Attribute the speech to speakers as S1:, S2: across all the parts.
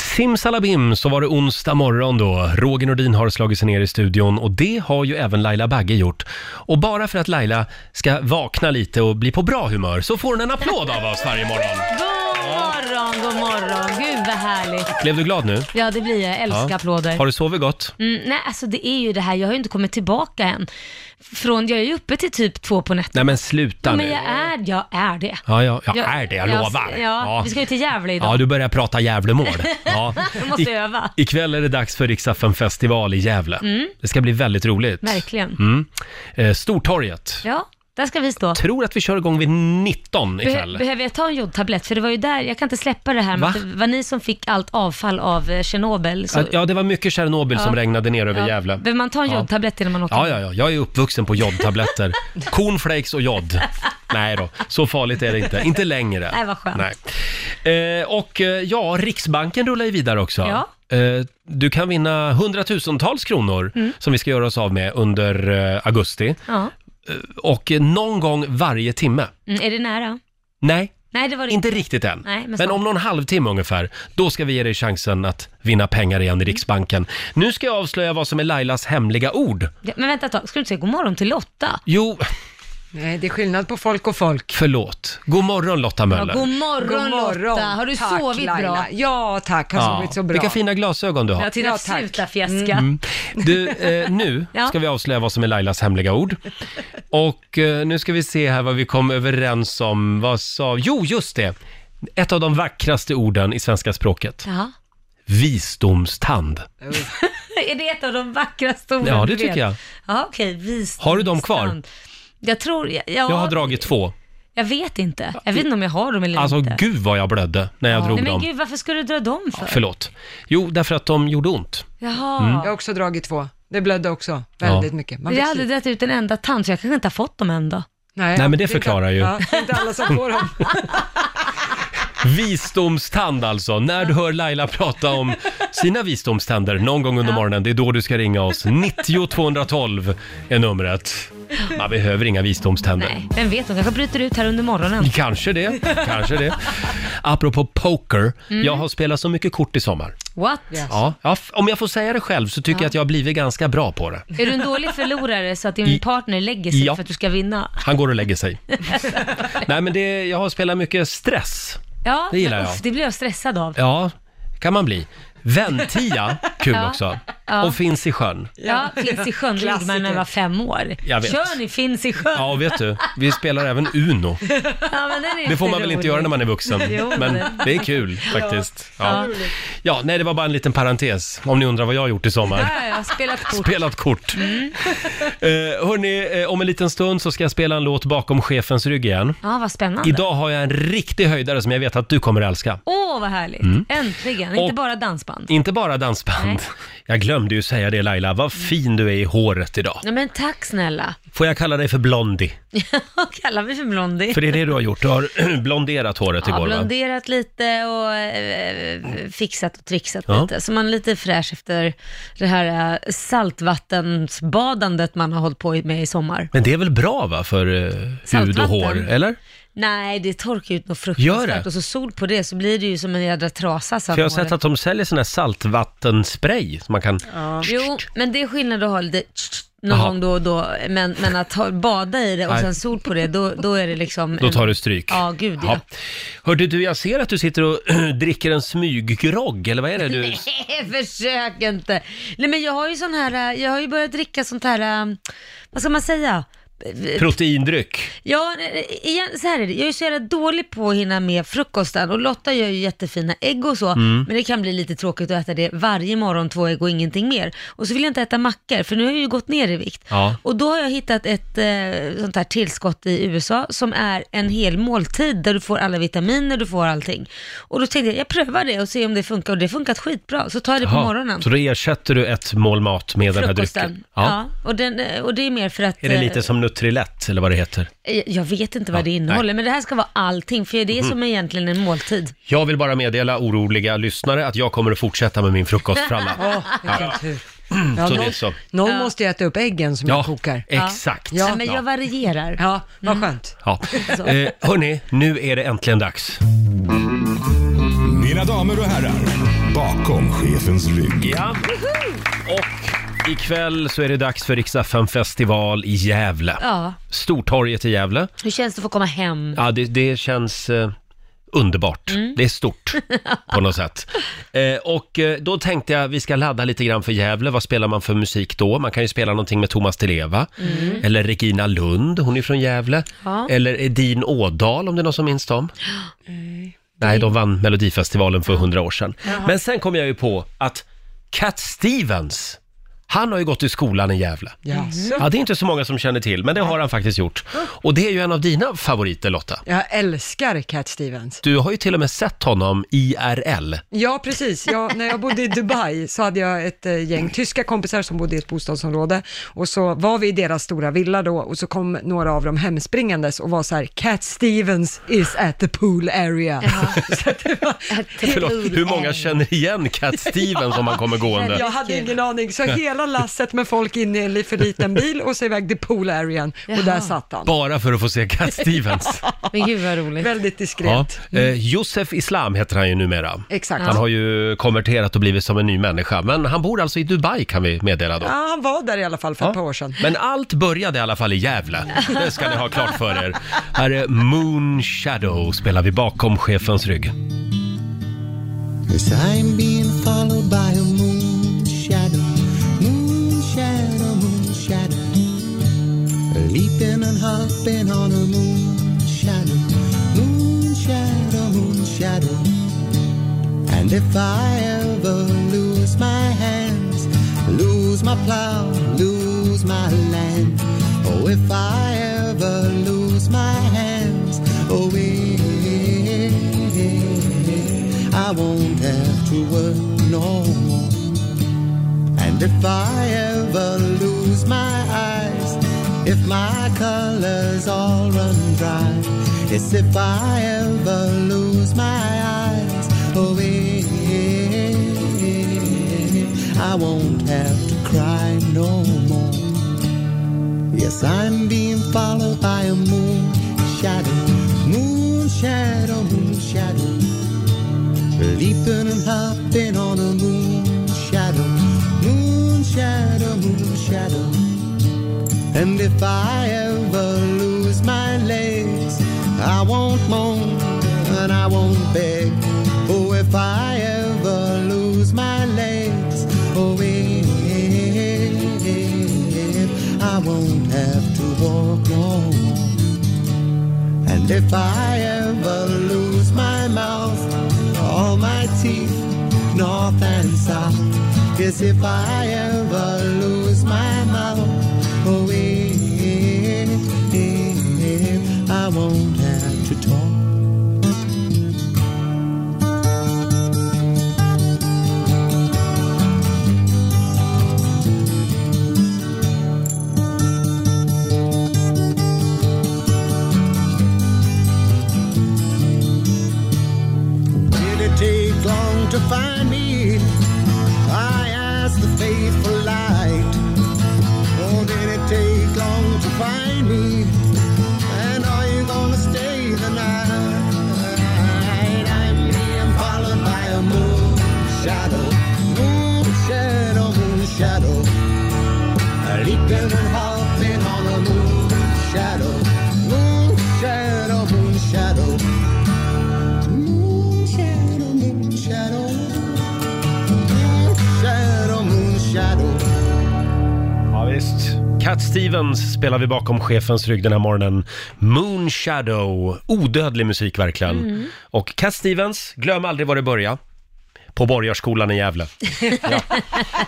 S1: Simsalabim så var det onsdag morgon då. Roger Nordin har slagit sig ner i studion och det har ju även Laila Bagge gjort. Och bara för att Laila ska vakna lite och bli på bra humör så får hon en applåd av oss varje morgon.
S2: God morgon, god morgon. Gud vad härligt.
S1: Blev du glad nu?
S2: Ja, det blir jag. Jag älskar applåder.
S1: Har du sovit gott?
S2: Mm, nej, alltså det är ju det här, jag har ju inte kommit tillbaka än. Från, jag är ju uppe till typ två på nätterna.
S1: Nej men sluta
S2: Ja,
S1: nu.
S2: men jag är, jag är det.
S1: Ja, ja, jag är det, jag lovar.
S2: Ja,
S1: Ja.
S2: vi ska ju till Gävle idag.
S1: Ja, du börjar prata Gävlemål. Ja.
S2: Jag måste öva.
S1: Ikväll är det dags för Riksaffen festival i Gävle. Det ska bli väldigt roligt.
S2: Mm. Verkligen.
S1: Mm. Eh, Stortorget.
S2: Ja, där ska vi stå.
S1: Tror att vi kör igång vid 19
S2: Beh-
S1: ikväll.
S2: behöver jag ta en jodtablett? För det var ju där, jag kan inte släppa det här med
S1: Va?
S2: att det var ni som fick allt avfall av eh, Tjernobyl. Så,
S1: Att- Ja, det var mycket Tjernobyl
S2: Ja.
S1: som regnade ner över
S2: ja.
S1: Gävle.
S2: Behöver man ta en
S1: Ja.
S2: jodtablett innan man åker?
S1: Ja, ja, ja. Jag är uppvuxen på jodtabletter. Cornflakes och jod. Nej då, så farligt är det inte. Inte längre.
S2: Nej, vad skönt.
S1: Nej. Eh, och eh, ja, Riksbanken rullar ju vidare också.
S2: Ja. Mm.
S1: Eh, du kan vinna hundratusentals kronor som vi ska göra oss av med under eh, augusti.
S2: Ja.
S1: Eh, och eh, någon gång varje timme.
S2: Mm, är det nära?
S1: Nej,
S2: Nej, det var det
S1: inte riktigt än.
S2: Nej, men
S1: men
S2: snart.
S1: om någon halvtimme ungefär, då ska vi ge dig chansen att vinna pengar igen i
S2: Mm.
S1: Riksbanken. Nu ska jag avslöja vad som är Lailas hemliga ord.
S2: Ja, Men vänta ett tag, ska du inte säga god morgon till Lotta?
S1: Jo,
S3: Nej, det är skillnad på folk och folk.
S1: förlåt. God morgon Lotta
S2: Ja,
S1: Möller.
S2: god morgon,
S3: God morgon.
S2: Lotta, har du
S3: Tack,
S2: sovit
S3: Laila.
S2: bra?
S3: Ja, tack. Har
S1: Ja,
S3: sovit så bra.
S1: Vilka fina glasögon du har.
S2: Ja, till att
S3: Ja, tack. Mm.
S2: sluta fjäska.
S1: Du, eh, nu
S2: Ja.
S1: ska vi avslöja vad som är Lailas hemliga ord. Och eh, nu ska vi se här vad vi kom överens om. Vad sa... Jo, just det! Ett av de vackraste orden i svenska språket.
S2: Ja.
S1: Visdomstand.
S2: Är det ett av de vackraste orden
S1: Ja, det
S2: du vet?
S1: tycker jag.
S2: Ja, okej, visdomstand.
S1: Har du dem kvar?
S2: Jag tror, ja,
S1: Jag har dragit två.
S2: jag vet inte. Jag vet inte om jag har dem eller
S1: Alltså,
S2: inte.
S1: gud vad jag blödde när jag drog
S2: Nej, men
S1: dem.
S2: gud, varför skulle du dra dem för?
S1: Förlåt. Jo, därför att de gjorde ont.
S2: Jaha.
S1: Mm.
S3: Jag har också dragit två. Det blödde också väldigt mycket. Man
S2: Jag
S3: fick
S2: har aldrig dragit ut en enda tand, så jag kanske inte har fått dem än då.
S1: Nej, men det
S3: är inte-
S1: förklarar ju.
S3: Ja, det är inte alla som får dem.
S1: Visdomstand alltså. När du hör Laila prata om sina visdomständer någon gång under morgonen, det är då du ska ringa oss. 90 212 är numret. Man behöver inga visdomständer.
S2: Nej, vem vet, de kanske bryter ut här under morgonen.
S1: Kanske det, kanske det. Apropå poker,
S2: Mm.
S1: jag har spelat så mycket kort i sommar.
S2: What?
S1: Ja, ja, f- om jag får säga det själv så tycker jag att jag har blivit ganska bra på det.
S2: Är du en dålig förlorare så att din
S1: I-
S2: partner lägger sig
S1: Ja.
S2: för att du ska vinna?
S1: Han går och lägger sig. Nej men det, jag har spelat mycket stress.
S2: Ja,
S1: Det gillar
S2: men
S1: jag.
S2: uff, det blir jag stressad av.
S1: Ja, kan man bli. Ventia, kul
S2: Ja.
S1: också.
S2: Ja.
S1: Och finns i sjön.
S2: Ja, finns i sjön, det gjorde man när man var fem år.
S1: Jag vet.
S2: Kör ni finns i sjön?
S1: Ja, och vet du, vi spelar även Uno.
S2: Ja, men den är
S1: Det får
S2: lite
S1: man väl inte
S2: rolig.
S1: göra när man är vuxen,
S2: Jo,
S1: men
S2: det-
S1: det är kul faktiskt. Ja.
S2: Ja.
S1: ja, nej, det var bara en liten parentes, om ni undrar vad jag har gjort i sommar.
S2: Ja, jag har spelat kort. Mm.
S1: Spelat kort. Eh, hörni, eh, om en liten stund så ska jag spela en låt bakom chefens rygg igen.
S2: Ja, vad spännande.
S1: Idag har jag en riktig höjdare som jag vet att du kommer att älska.
S2: Åh, vad härligt. Äntligen.
S1: Mm. Och-
S2: Inte bara dansband.
S1: Inte bara dansband.
S2: Nej.
S1: Jag glömde ju säga det Laila, vad fin du är i håret idag.
S2: Ja, men tack snälla.
S1: Får jag kalla dig för Blondie?
S2: Vad kallar vi för blondie?
S1: För det är det du har gjort, du har blonderat håret
S2: Ja,
S1: igår va?
S2: blonderat lite och eh, fixat och trixat
S1: Ja.
S2: lite. Så man är lite fräsch efter det här eh, saltvattensbadandet man har hållit på med i sommar.
S1: Men det är väl bra va för eh, hud och
S2: Saltvatten.
S1: hår, eller?
S2: Nej, det torkar ut något
S1: Gör det?
S2: fruktansvärt och så sol på det så blir det ju som en jädra trasa. sen
S1: För jag har
S2: på
S1: sett
S2: håret.
S1: att de säljer sån här saltvattenspray som man kan...
S2: Jo, men det är skillnad att ha lite någon
S1: Jaha.
S2: gång då och då, men, men att ha, bada i det och
S1: Nej.
S2: sen sol på det, då, då är det liksom...
S1: Då
S2: en-
S1: tar du stryk.
S2: Ja, gud ja.
S1: Hörde du, jag ser att du sitter och dricker en smyggrogg, eller vad är det du...
S2: Nej, försök inte. Nej, men jag har ju sån här, eh, jag har ju börjat dricka sånt här, eh, vad ska man säga?
S1: Proteindryck.
S2: Ja, eh, igen, så här är det. Jag är så jävla dålig på att hinna med frukosten och Lotta gör ju jättefina ägg och så,
S1: Mm.
S2: men det kan bli lite tråkigt att äta det varje morgon, två ägg och ingenting mer. Och så vill jag inte äta mackor, för nu har jag ju gått ner i vikt.
S1: Ja.
S2: Och då har jag hittat ett eh, sånt här tillskott i USA som är en hel måltid där du får alla vitaminer, du får allting. Och då tänkte jag, jag prövar det och ser om det funkar och det har funkat skitbra. Så tar jag det på
S1: Jaha,
S2: morgonen.
S1: Så då ersätter du ett mål mat med den här
S2: Frukosten.
S1: drycken?
S2: Ja, och, den, eh, och det är mer för att...
S1: Är det
S2: eh,
S1: lite som Nutrilett, eller vad det heter?
S2: Eh, Jag vet inte vad
S1: Ja, Mhm.
S2: det innehåller, men det här ska vara allting, för det är som egentligen en måltid.
S1: Jag vill bara meddela oroliga lyssnare att jag kommer att fortsätta med min frukostfralla.
S3: Åh, vilken tur. Ja,
S1: Så det är
S3: någon,
S1: så.
S3: någon måste ju äta upp äggen som
S1: Ja,
S3: jag kokar.
S1: exakt.
S3: Ja.
S2: Ja, men jag varierar.
S3: Ja, vad
S2: Mm.
S3: skönt.
S1: Ja. Eh, hörni, nu är det äntligen dags.
S4: Mina damer och herrar, Bakom chefens rygg.
S1: Ja. Och ikväll så är det dags för Riksaffären festival i Gävle.
S2: Ja.
S1: Stortorget i Gävle.
S2: Hur känns det att få komma hem?
S1: Ja, det, det känns eh, underbart. Det är stort på något sätt. Eh, och eh, då tänkte jag vi ska ladda lite grann för Gävle. Vad spelar man för musik då? Man kan ju spela någonting med Thomas Di Leva. Eller Regina Lund, hon är från Gävle.
S2: Ja.
S1: Eller Edin Ådal om det är någon som minns dem. Nej, de vann Melodifestivalen för hundra år sedan. Men sen kom jag ju på att Cat Stevens, han har ju gått i skolan i Gävle.
S3: Jaså?
S1: Mm. Ja, det är inte så många som känner till, men det har han faktiskt gjort. Och det är ju en av dina favoriter Lotta.
S3: Jag älskar Cat Stevens.
S1: Du har ju till och med sett honom IRL.
S3: Ja, precis. Jag, när jag bodde i Dubai så hade jag ett eh, gäng tyska kompisar som bodde i ett bostadsområde och så var vi i deras stora villa då och så kom några av dem hemspringandes och var så här Cat Stevens is at the pool area. Så att det var,
S1: Förlåt, hur många känner igen Cat Stevens om man kommer
S3: jag
S1: gående?
S3: hade ingen aning, så hela lasset med folk in i en li- för liten bil och så iväg till pool arean och där
S2: Jaha.
S3: satt han.
S1: Bara för att få se Cat Stevens.
S2: Men gud vad roligt.
S3: Väldigt diskret.
S1: Ja. Eh, Josef Islam heter han ju numera.
S3: Mm. Exakt.
S1: Han har ju konverterat och blivit som en ny människa, men han bor alltså i Dubai kan vi meddela då.
S3: Ja, han var där i alla fall för
S1: Ja.
S3: ett par år sedan.
S1: Men allt började i alla fall i Gävle. Det ska ni ha klart för er. Här är Moon Shadow spelar vi bakom chefens rygg.
S5: As I'm being followed by a moon shadow, moon shadow, moon shadow. Leaping and hopping on a moon shadow, moon shadow, moon shadow. And if I ever lose my hands, lose my plow, lose my land. Oh, if I ever lose my hands, oh, eh, I won't have to work no more. And if I ever lose my eyes, if my colors all run dry, it's if I ever lose my eyes, oh, eh, I won't have to cry no more. Yes, I'm being followed by a moon shadow, moon shadow, moon shadow. Leaping and hopping on a moon shadow, moon shadow, moon shadow. And if I ever lose my legs, I won't moan and I won't beg. Oh, if I ever lose my legs, oh, if I won't have to walk no more. And if I ever lose my mouth, all my teeth, north and south, yes, if I ever lose my mouth, oh, eh, if, if eh, I won't have to talk. Did it take long to find me? I asked the faithful light. Oh, did it take long to find me? And are you gonna stay the night? I'm being followed by a moon shadow, moon shadow, moon shadow. Leaping and hopping on a moon shadow, moon shadow, moon shadow. Moon shadow, moon shadow. Moon shadow, moon shadow.
S1: Ja, visst. Cat Stevens spelar vi bakom chefens rygg den här morgonen. Moon Shadow, odödlig musik verkligen.
S2: Mm.
S1: Och Cat Stevens, glöm aldrig var det började. På Borgarskolan i Gävle. ja.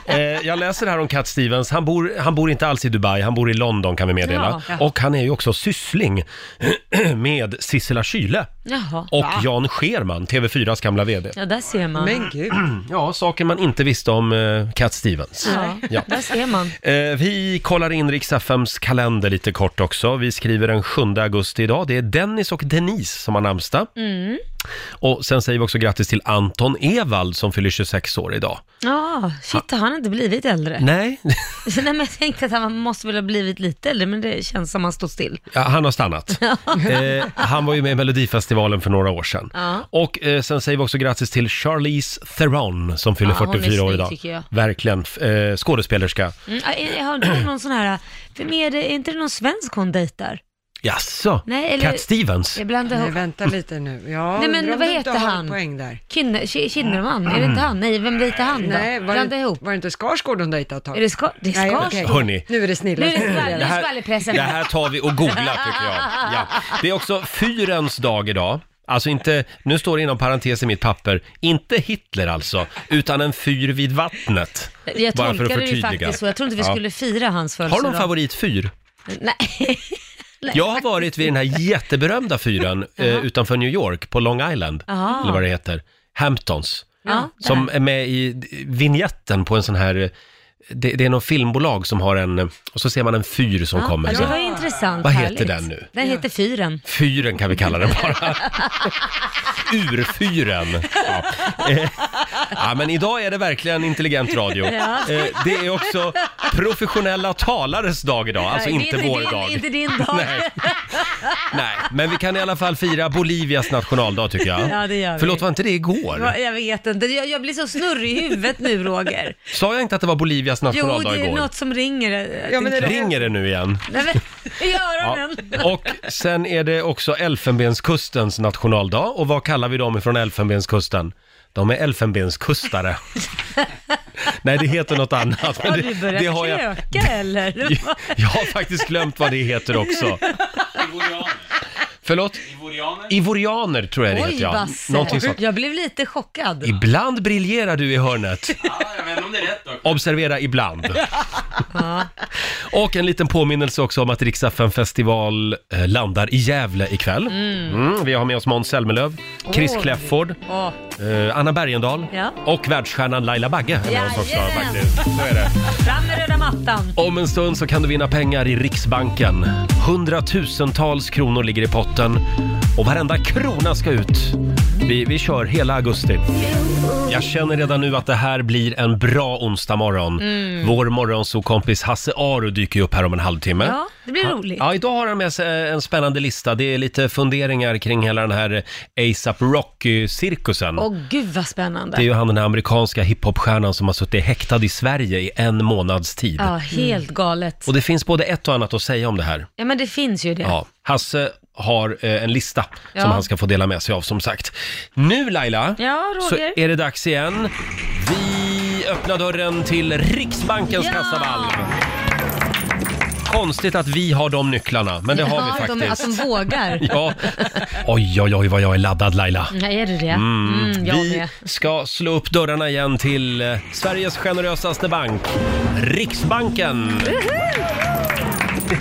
S1: eh, jag läser här om Cat Stevens. Han bor, han bor inte alls i Dubai, han bor i London kan vi meddela.
S2: Ja.
S1: Och han är ju också syssling med Sissela Kyle
S2: Jaha.
S1: och Jan Scherman, TV4s gamla VD.
S2: Ja, där ser man.
S3: Men gud.
S1: Ja, saker man inte visste om eh, Cat Stevens.
S2: Ja,
S1: Ja.
S2: där ser man.
S1: Eh, vi kollar in Riks-FMs kalender
S2: Mm.
S1: lite kort också. Vi skriver den 7 augusti idag. Det är Dennis och Denise som har namnsdag. Och sen säger vi också grattis till Anton Ewald som fyller 26 år idag.
S2: Ja, shit, har han inte blivit äldre?
S1: Nej,
S2: Nej, men jag tänkte att han måste väl ha blivit lite äldre, men det känns som att han står still.
S1: Ja, han har stannat. eh, han var ju med i Melodifestivalen för några år sedan.
S2: Ja.
S1: Och eh, sen säger vi också grattis till Charlize Theron som fyller
S2: Ja, hon är
S1: 44 år
S2: snygg,
S1: idag.
S2: tycker jag.
S1: Verkligen. F- Eh, skådespelerska.
S2: Mm, jag- jag har du någon sån här, vem är det, är inte det någon svensk hon dejtar?
S1: Jaså?
S2: Nej, eller-
S1: Cat Stevens?
S2: Jag blandar
S3: Nej,
S2: ihop
S3: vänta lite nu. Jag
S2: Nej, men
S3: undrar om
S2: vad
S3: du inte
S2: heter
S3: har
S2: han?
S3: en poäng där.
S2: Kinne- Ki- Kinnaman, är det
S1: Mm.
S2: inte han? Nej, vem dejtar han då?
S3: Nej, var
S2: Blanda
S3: det,
S2: ihop.
S3: Var det inte Skarsgård hon dejtade ett tag?
S2: Är det ska, det
S3: Nej,
S2: ska
S3: okej.
S1: Hörni.
S3: Nu är det
S2: Nu
S3: snilla.
S2: är det skvaller,
S1: Det
S2: det
S1: här-
S2: skvallerpressen.
S1: Det här tar vi och googlar tycker jag. Ja. Det är också fyrens dag idag. Alltså inte, nu står det inom parentes i mitt papper, inte Hitler alltså, utan en fyr vid vattnet.
S2: Jag
S1: Bara för att
S2: tolkade det ju
S1: förtydliga.
S2: faktiskt så. Jag trodde inte vi
S1: Ja.
S2: skulle fira hans
S1: Har
S2: födelsedag.
S1: du någon favoritfyr?
S2: Nej.
S1: Jag har varit vid den här jätteberömda fyren eh, utanför New York, på Long Island,
S2: Aha.
S1: eller vad det heter, Hamptons,
S2: Ja, det
S1: som
S2: här.
S1: är med i d- vignetten på en sån här eh, det, det är någon filmbolag som har en, eh, och så ser man en fyr som kommer.
S2: ja,
S1: Så.
S2: det var ju intressant.
S1: Vad heter
S2: härligt.
S1: den nu?
S2: Den heter Fyren.
S1: Fyren kan vi kalla den bara. Urfyren. Ja. Eh, ja, men idag är det verkligen intelligent radio.
S2: Ja.
S1: Eh, det är också professionella talares dag idag, alltså
S2: Nej, det är
S1: inte vår
S2: din,
S1: dag.
S2: Inte din dag.
S1: Nej. Nej, men vi kan i alla fall fira Bolivias nationaldag tycker jag.
S2: Ja, det gör vi.
S1: Förlåt, var inte det
S2: Va,
S1: igår?
S2: Jag vet inte, jag, jag blir så snurrig i huvudet nu Roger.
S1: Sa jag inte att det var Bolivias
S2: Jo,
S1: nationaldag
S2: det är
S1: igår?
S2: något som ringer. eh,
S3: Ja, men det är det.
S1: Ringer det nu igen?
S2: Nej, men, I
S1: Ja.
S2: öronen.
S1: Och sen är det också Elfenbenskustens nationaldag. Och vad kallar vi dem från Elfenbenskusten? De är elfenbenskustare. Nej, det heter något annat. men
S2: Har
S1: det-
S2: du börjat
S1: det har jag-
S2: kröka eller?
S1: Jag har faktiskt glömt vad det heter också. Förlåt? Ivorianer tror jag det heter,
S2: Oj,
S1: ja. Någonting
S2: Basse.
S1: sånt.
S2: Jag blev lite chockad.
S1: Ibland briljerar du i hörnet.
S6: jag vet inte om det är rätt dock.
S1: Observera ibland. Och en liten påminnelse också om att Riksdagen festival eh, landar i Gävle ikväll. Mm, vi har med oss Måns Zelmerlöw, Chris
S2: Åh.
S1: Kläfford,
S2: Åh.
S1: eh, Anna Bergendahl
S2: Ja.
S1: och världsstjärnan Laila Bagge är med oss också
S2: Jajamän.
S1: faktiskt. Så är det.
S2: Fram med röda mattan.
S1: Om en stund så kan du vinna pengar i Riksbanken. Hundratusentals kronor ligger i potten och varenda krona ska ut. Vi, vi kör hela augusti. Jag känner redan nu att det här blir en bra onsdag morgon.
S2: Mm.
S1: Vår morgonsokompis Hasse Aro dyker ju upp här om en halvtimme.
S2: Ja, det blir roligt.
S1: Ja, idag har han med sig eh, en spännande lista. Det är lite funderingar kring hela den här ASAP Rocky-cirkusen.
S2: Åh gud vad
S1: Det är
S2: spännande.
S1: ju han den här amerikanska hiphopstjärnan som har suttit häktad i Sverige i en månads tid.
S2: Ja, helt galet.
S1: Mm. Och det finns både ett och annat att säga om det här.
S2: Ja men det finns ju det.
S1: Ja, Hasse har eh, en lista
S2: Ja.
S1: som han ska få dela med sig av som sagt. Nu Laila,
S2: Ja, Roger.
S1: så är det dags igen. Vi öppnar dörren till Riksbankens
S2: Ja.
S1: kassavalv. Konstigt att vi har de nycklarna, men det har vi
S2: Ja, de, alltså- att
S1: faktiskt.
S2: de vågar.
S1: Ja. Oj, oj, oj vad jag är laddad Laila.
S2: Ja, är det det? Mm, jag
S1: Vi
S2: med.
S1: ska slå upp dörrarna igen till eh, Sveriges generösaste bank, Riksbanken.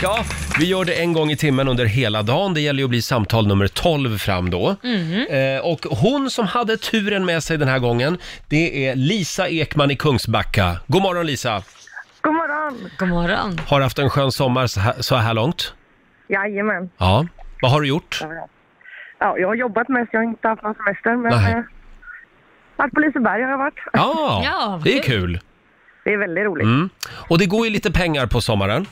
S1: Ja, vi gör det en gång i timmen under hela dagen. Det gäller ju att bli samtal nummer 12 fram då.
S2: Mm.
S1: Eh, och hon som hade turen med sig den här gången, det är Lisa Ekman i Kungsbacka. God morgon Lisa!
S7: God morgon!
S2: God morgon.
S1: Har haft en skön sommar så här, så här långt?
S7: Jajamän.
S1: Ja. Vad har du gjort?
S7: Ja, jag har jobbat mest, jag har inte haft någon semester. Men
S1: Nej.
S7: eh, varit på Liseberg har jag varit.
S1: Ja,
S2: Ja, vad
S1: det är kul.
S7: Det är väldigt roligt.
S1: Mm. Och det går ju lite pengar på sommaren.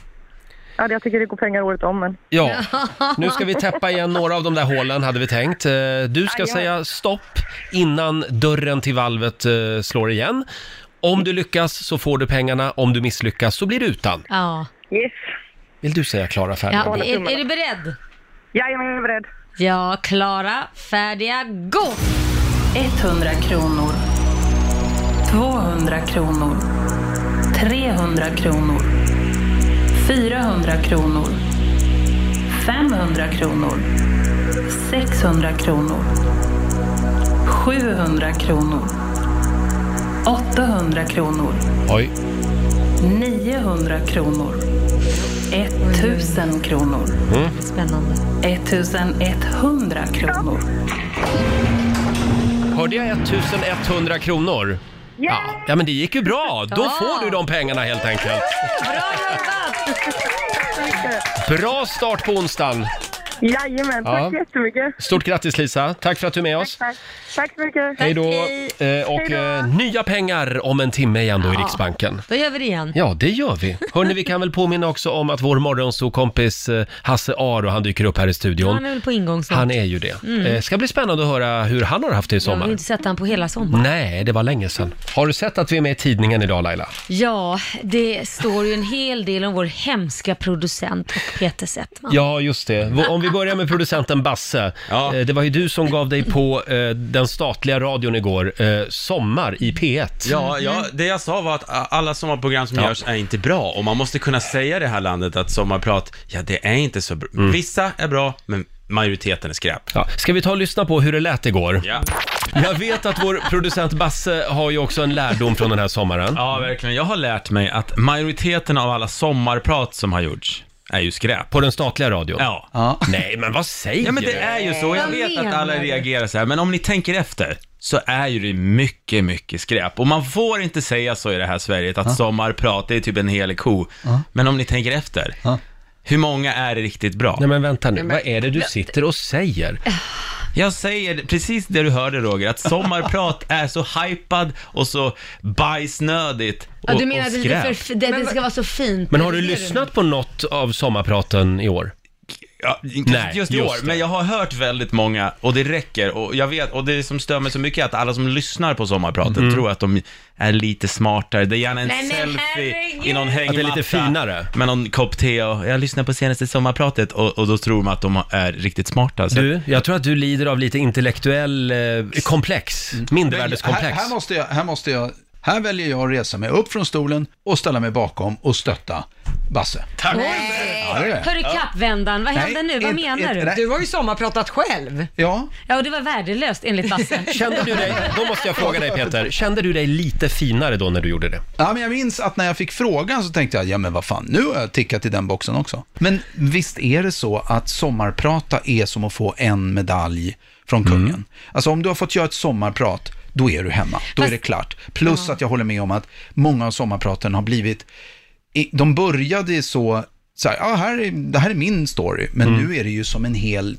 S7: Ja, det- jag tycker det går pengar året om, men
S1: Ja, nu ska vi täppa igen några av de där hålen hade vi tänkt. Eh, Du ska
S7: Jajamän.
S1: säga stopp innan dörren till valvet eh, slår igen. Om du lyckas så får du pengarna, om du misslyckas så blir du utan.
S2: Ja.
S7: yes.
S1: Vill du säga klara färdigt?
S2: ja är, är du beredd?
S7: Jajamän, jag är beredd.
S2: Ja, klara, färdiga, gå!
S8: 100 kronor. 200 kronor. 300 kronor. 400 kronor. 500 kronor. 600 kronor. 700 kronor. 800 kronor.
S1: Oj.
S8: 900 kronor. 1000 kronor.
S2: Spännande.
S8: 1100 kronor.
S1: Hörde jag 1100 kronor? Ja. ja, men det gick ju bra. Då
S2: Ja.
S1: får du de pengarna helt enkelt.
S2: Bra jobbat!
S1: Bra start på onsdagen.
S7: Jajamän, tack
S1: Ja.
S7: så jättemycket.
S1: Stort grattis Lisa, tack för att du är med oss.
S7: Tack, tack så mycket.
S1: Hej då!
S2: hej.
S1: Eh, Och
S7: Hej då.
S1: eh, nya pengar om en timme igen då i Riksbanken.
S2: Då gör vi det igen.
S1: Ja, det gör vi. Hörni, vi kan väl påminna också om att vår morgonsokompis eh, Hasse Aro, han dyker upp här i
S2: Han
S1: studion.
S2: är väl på ingång snart.
S1: Han är ju det. Eh, Ska bli spännande att höra hur han har haft det i
S2: Jag har ju
S1: sommar. Mm.
S2: inte sett han på hela sommaren.
S1: Nej, det var länge sedan. Har du sett att vi är med i tidningen idag Laila?
S2: Ja, det står ju en hel del om vår hemska producent och Peter Settman.
S1: Ja, just det. V- Om vi börjar med producenten Basse.
S6: Ja.
S1: Eh, Det var ju du som gav dig på eh, den statliga radion igår, eh, Sommar i P1.
S6: Ja, ja, det jag sa var att a- alla sommarprogram som görs är inte bra och man måste kunna säga i det här landet att sommarprat, ja det är inte så bra. Vissa är bra, men majoriteten är skräp.
S1: Ja. Ska vi ta och lyssna på hur det lät igår?
S6: Ja.
S1: Jag vet att vår producent Basse har ju också en lärdom från den här sommaren.
S6: ja, verkligen. Jag har lärt mig att majoriteten av alla sommarprat som har gjorts är ju skräp.
S1: På den statliga radion?
S6: Ja.
S1: Nej, men vad säger
S6: Ja men
S1: du?
S6: det är ju så, jag
S2: Vad
S6: vet att
S2: menar
S6: alla
S2: du?
S6: reagerar så här, men om ni tänker efter så är ju det mycket, mycket skräp. Och man får inte säga så i det här Sverige, att sommarprat, det är typ en helig ko. Men om ni tänker efter, hur många är det riktigt bra?
S1: Nej men vänta nu, vad är det du sitter och säger?
S6: Jag säger precis det du hörde Roger, att sommarprat är så hypad och så bajsnödigt och,
S2: Ja, du menar
S6: och
S2: att det,
S6: skräp.
S2: är lite för, det, det ska vara så fint?
S1: Men har du lyssnat på något av sommarpraten i år?
S6: Ja, inte
S1: Nej,
S6: just i
S1: just
S6: år,
S1: det.
S6: men jag har hört väldigt många och det räcker och jag vet, och det som stör mig så mycket är att alla som lyssnar på sommarpratet
S1: Mm.
S6: tror att de är lite smartare, det är gärna en
S2: Men
S6: selfie
S2: herregud!
S6: i någon hängmatta.
S1: Att det är lite finare.
S6: Med någon kopp te och jag lyssnar på senaste sommarpratet och, och då tror man att de är riktigt smarta. Så.
S1: Du, jag tror att du lider av lite intellektuell eh, komplex,
S9: Här,
S1: mindervärdeskomplex.
S9: här, måste jag, här måste jag, här väljer jag att resa mig upp från stolen och ställa mig bakom och stötta Basse.
S2: Oj.
S9: Ja, det är det.
S2: Hörru kappvändan, vad hände nu? Vad
S9: inte-
S2: menar
S9: inte-
S2: du?
S9: nej.
S3: Du har ju sommarpratat själv.
S9: Ja,
S2: Ja, och det var värdelöst enligt Basse.
S1: Kände du dig, då måste jag fråga dig Peter, kände du dig lite finare då när du gjorde det?
S9: ja, men jag minns att när jag fick frågan så tänkte jag, ja men vad fan, nu har jag tickat i den boxen också. Men visst är det så att sommarprata är som att få en medalj från kungen. Alltså om du har fått göra ett sommarprat, då är du hemma, då är det klart. Plus att jag håller med om att många av sommarpraten har blivit i- de började så, så här, ah, här är, det här är min story, men nu är det ju som en hel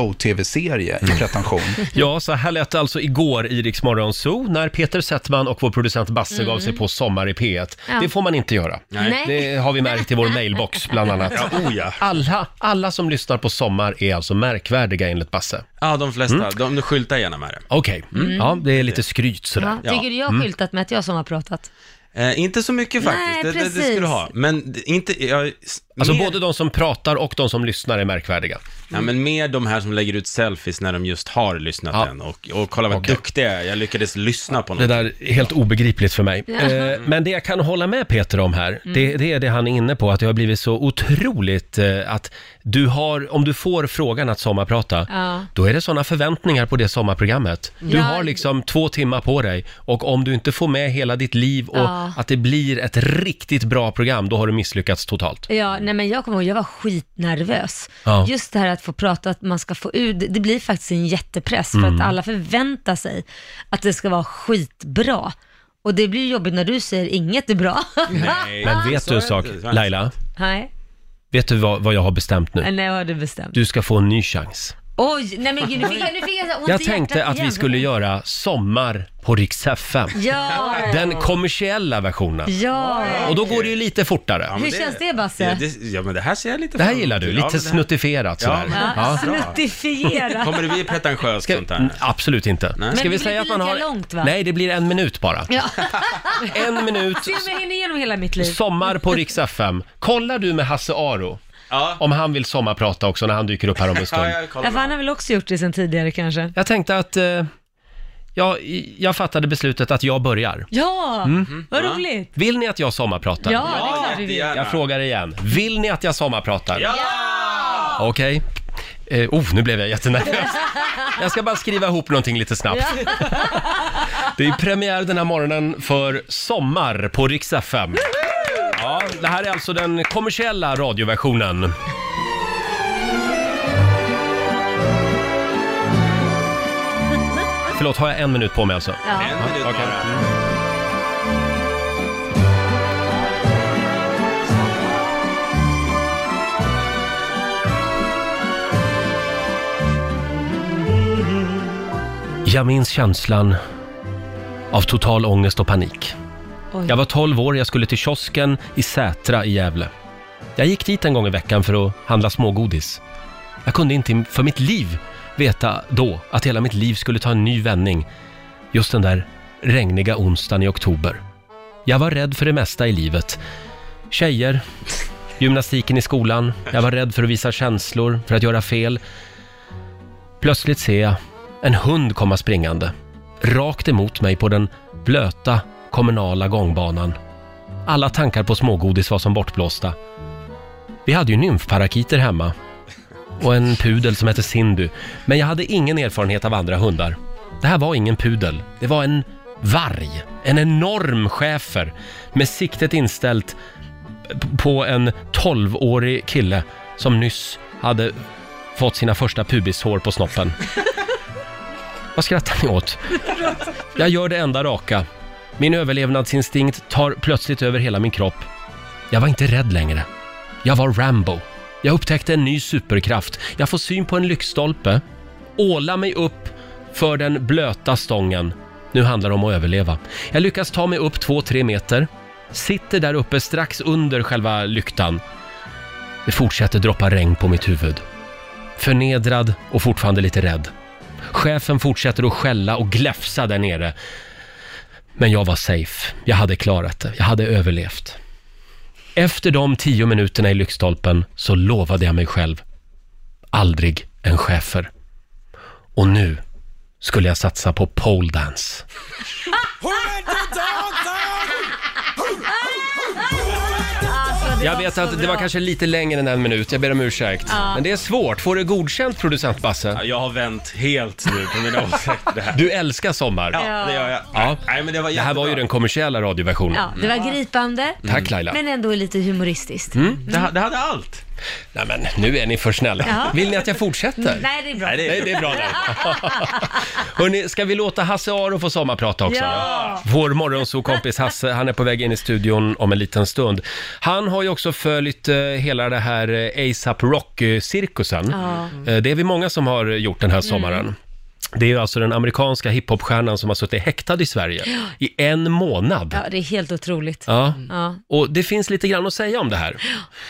S9: HBO-tv-serie i pretension.
S1: Ja, så här lät det alltså igår i Rix Morgon Zoo när Peter Settman och vår producent Basse gav sig på Sommar i P1.
S2: Ja.
S1: Det får man inte göra.
S2: Nej.
S1: Det har vi märkt i vår mailbox bland annat.
S6: Ja, oh ja.
S1: Alla, alla som lyssnar på Sommar är alltså märkvärdiga enligt Basse.
S6: ja, de flesta,
S1: Mm.
S6: de, de skyltar gärna med det.
S1: Okej, ja, det är lite skryt sådär.
S2: Ja, tycker du jag har skyltat med att jag som har pratat?
S6: Eh, inte så mycket
S2: Nej,
S6: faktiskt, det, det, det
S2: precis.
S6: skulle du ha. Men det- inte, jag, s-
S1: Alltså
S6: mer-
S1: både de som pratar och de som lyssnar är märkvärdiga.
S6: Ja, men mer de här som lägger ut selfies när de just har lyssnat
S1: Mm. Ja.
S6: än och, och kolla vad
S1: Okej.
S6: duktig jag är, jag lyckades lyssna på något.
S1: Det där är helt obegripligt för mig.
S2: Ja. Mm.
S1: Eh, men det jag kan hålla med Peter om här, det, det är det han är inne på, att det har blivit så otroligt eh, att du har, om du får frågan att sommarprata,
S2: Ja.
S1: då är det sådana förväntningar på det sommarprogrammet. Du
S2: Ja.
S1: har liksom två timmar på dig och om du inte får med hela ditt liv och
S2: Ja.
S1: att det blir ett riktigt bra program, då har du misslyckats totalt.
S2: Ja, nej men jag kommer ihåg, jag var skitnervös.
S1: Ja.
S2: Just det här att få prata, att man ska få ut, det blir faktiskt en jättepress för att alla förväntar sig att det ska vara skitbra. Och det blir jobbigt när du säger inget är bra.
S6: Nej.
S1: Men vet
S6: så
S1: du
S6: är
S1: en
S6: det,
S1: sak,
S6: så är det.
S1: Laila?
S2: nej,
S1: Vet du vad, vad jag har bestämt nu?
S2: nej, jag har du bestämt.
S1: Du ska få en ny chans.
S2: Oj, nej men gud, nu fick jag, nu fick jag så ont i
S1: Jag
S2: hjärtat
S1: tänkte att vi
S2: igen.
S1: skulle göra Sommar på Rix FM.
S2: Ja,
S1: Den kommersiella versionen.
S2: ja.
S1: Och då går det ju lite
S6: Ja,
S1: fortare.
S6: men
S2: Hur känns det, Basse?
S6: Ja, det, ja, men det här ser jag lite
S1: Det här
S6: fram
S1: gillar du,
S6: emot. Ja,
S1: lite
S6: men det här-
S1: snuttifierat sådär.
S6: Ja,
S1: Ja.
S2: Snuttifiera.
S6: Kommer det bli pretentiöst sånt
S1: Ska,
S6: här?
S1: Mm, absolut inte.
S6: Men
S1: Ska
S2: det
S1: vi
S2: blir
S1: säga att
S2: inte
S1: man har...
S2: lika långt, va?
S1: Nej, det blir en minut bara.
S2: Ja.
S1: En minut,
S2: Se om jag hinner igenom hela mitt liv.
S1: sommar på Rix FM. Kollar du med Hasse Aro
S6: Ja.
S1: om han vill sommarprata också när han dyker upp här om en
S6: Ja,
S1: stund?
S6: jag
S2: Ja,
S6: kollar.
S2: för han har väl också gjort det sen tidigare kanske.
S1: Jag tänkte att... Eh, jag, jag fattade beslutet att jag börjar.
S2: Ja,
S1: Mm.
S2: vad roligt.
S1: Vill ni att jag sommarpratar?
S2: Ja, det är klart vi vill.
S6: jättegärna.
S1: Jag frågar igen. Vill ni att jag sommarpratar?
S6: Ja!
S1: Okej. Eh, oh, nu blev jag jättenervös. Jag ska bara skriva ihop någonting lite snabbt. Det är premiär den här morgonen för Sommar på Rix FM. Ja, det här är alltså den kommersiella radioversionen. Förlåt, har jag en minut på mig alltså?
S2: Ja.
S6: En minut
S1: okej.
S6: bara.
S1: Jag minns känslan av total ångest och panik.
S2: Oj.
S1: Jag var 12 år, jag skulle till kiosken i Sätra i Gävle. Jag gick dit en gång i veckan för att handla smågodis. Jag kunde inte för mitt liv veta då att hela mitt liv skulle ta en ny vändning just den där regniga onsdagen i oktober. Jag var rädd för det mesta i livet. Tjejer, gymnastiken i skolan, jag var rädd för att visa känslor, för att göra fel. Plötsligt ser jag en hund komma springande, rakt emot mig på den blöta kommunala gångbanan. Alla tankar på smågodis var som bortblåsta. Vi hade ju nymfparakiter hemma och en pudel som hette Sindu, men jag hade ingen erfarenhet av andra hundar. Det här var ingen pudel, det var en varg, en enorm schäfer med siktet inställt p- på en 12-årig kille som nyss hade fått sina första pubishår på snoppen. Vad skrattar ni åt? Jag gör det enda raka. Min överlevnadsinstinkt tar plötsligt över hela min kropp. Jag var inte rädd längre. Jag var Rambo. Jag upptäckte en ny superkraft. Jag får syn på en lyktstolpe, åla mig upp för den blöta stången. Nu handlar det om att överleva. Jag lyckas ta mig upp två, tre meter, sitter där uppe strax under själva lyktan. Det fortsätter droppa regn på mitt huvud. Förnedrad och fortfarande lite rädd. Chefen fortsätter att skälla och gläfsa där nere. Men jag var safe. Jag hade klarat det. Jag hade överlevt. Efter de tio minuterna i lyktstolpen så lovade jag mig själv. Aldrig en chefer. Och nu skulle jag satsa på pole dance.
S2: Alltså,
S1: Jag vet
S2: så
S1: att det
S2: bra.
S1: var kanske lite längre än en minut, jag ber om ursäkt.
S2: Ja.
S1: Men det är svårt. Får du godkänt producent Basse?
S6: Ja, Jag har vänt helt nu på mina åsikter det här.
S1: Du älskar sommar.
S6: Ja, det gör jag.
S1: Ja.
S6: Nej, men det, var
S1: Det här var ju
S6: jättebra.
S1: den kommersiella radioversionen.
S2: Ja, det var gripande,
S1: Tack Laila.
S2: Mm.
S1: Mm.
S2: men ändå lite humoristiskt.
S6: det, ha- det hade allt.
S1: Nej men nu är ni för snälla.
S2: Ja.
S1: Vill ni att jag fortsätter?
S2: Nej, det är bra.
S6: Nej, det
S1: Nej, det är bra det. Hörrni, ska vi låta Hasse Aro få sommarprata också?
S2: Ja.
S1: Vår morgonsokompis Hasse, han är på väg in i studion om en liten stund. Han har ju också följt eh, hela det här eh, ASAP Rock-cirkusen.
S2: Ja. Mm.
S1: Eh, det är vi många som har gjort den här sommaren. Det är ju alltså den amerikanska hiphopstjärnan som har suttit häktad i Sverige i en månad.
S2: Ja, Mm. det är helt otroligt.
S1: Ja.
S2: Ja.
S1: Och det finns lite grann att säga om det här.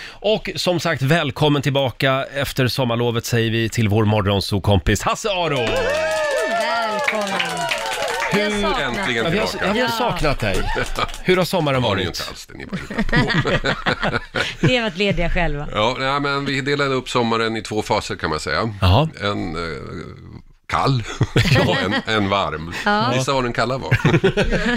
S1: Och som sagt, välkommen tillbaka efter sommarlovet säger vi till vår morgonsokompis Hasse Aro!
S2: Välkommen. Vi har
S10: Hur
S2: saknat dig.
S10: äntligen
S1: Ja, vi har,
S10: tillbaka.
S1: jag har
S2: Ja.
S1: saknat dig. Hur har sommaren
S10: Har ni ju
S1: varit?
S10: inte alls det ni bara hittar på.
S2: Vi har varit lediga själva.
S10: Ja, nej, men vi delade upp sommaren i två faser kan man säga.
S1: Ja.
S10: En eh, kall och en, en varm. Gissa vad den kalla var.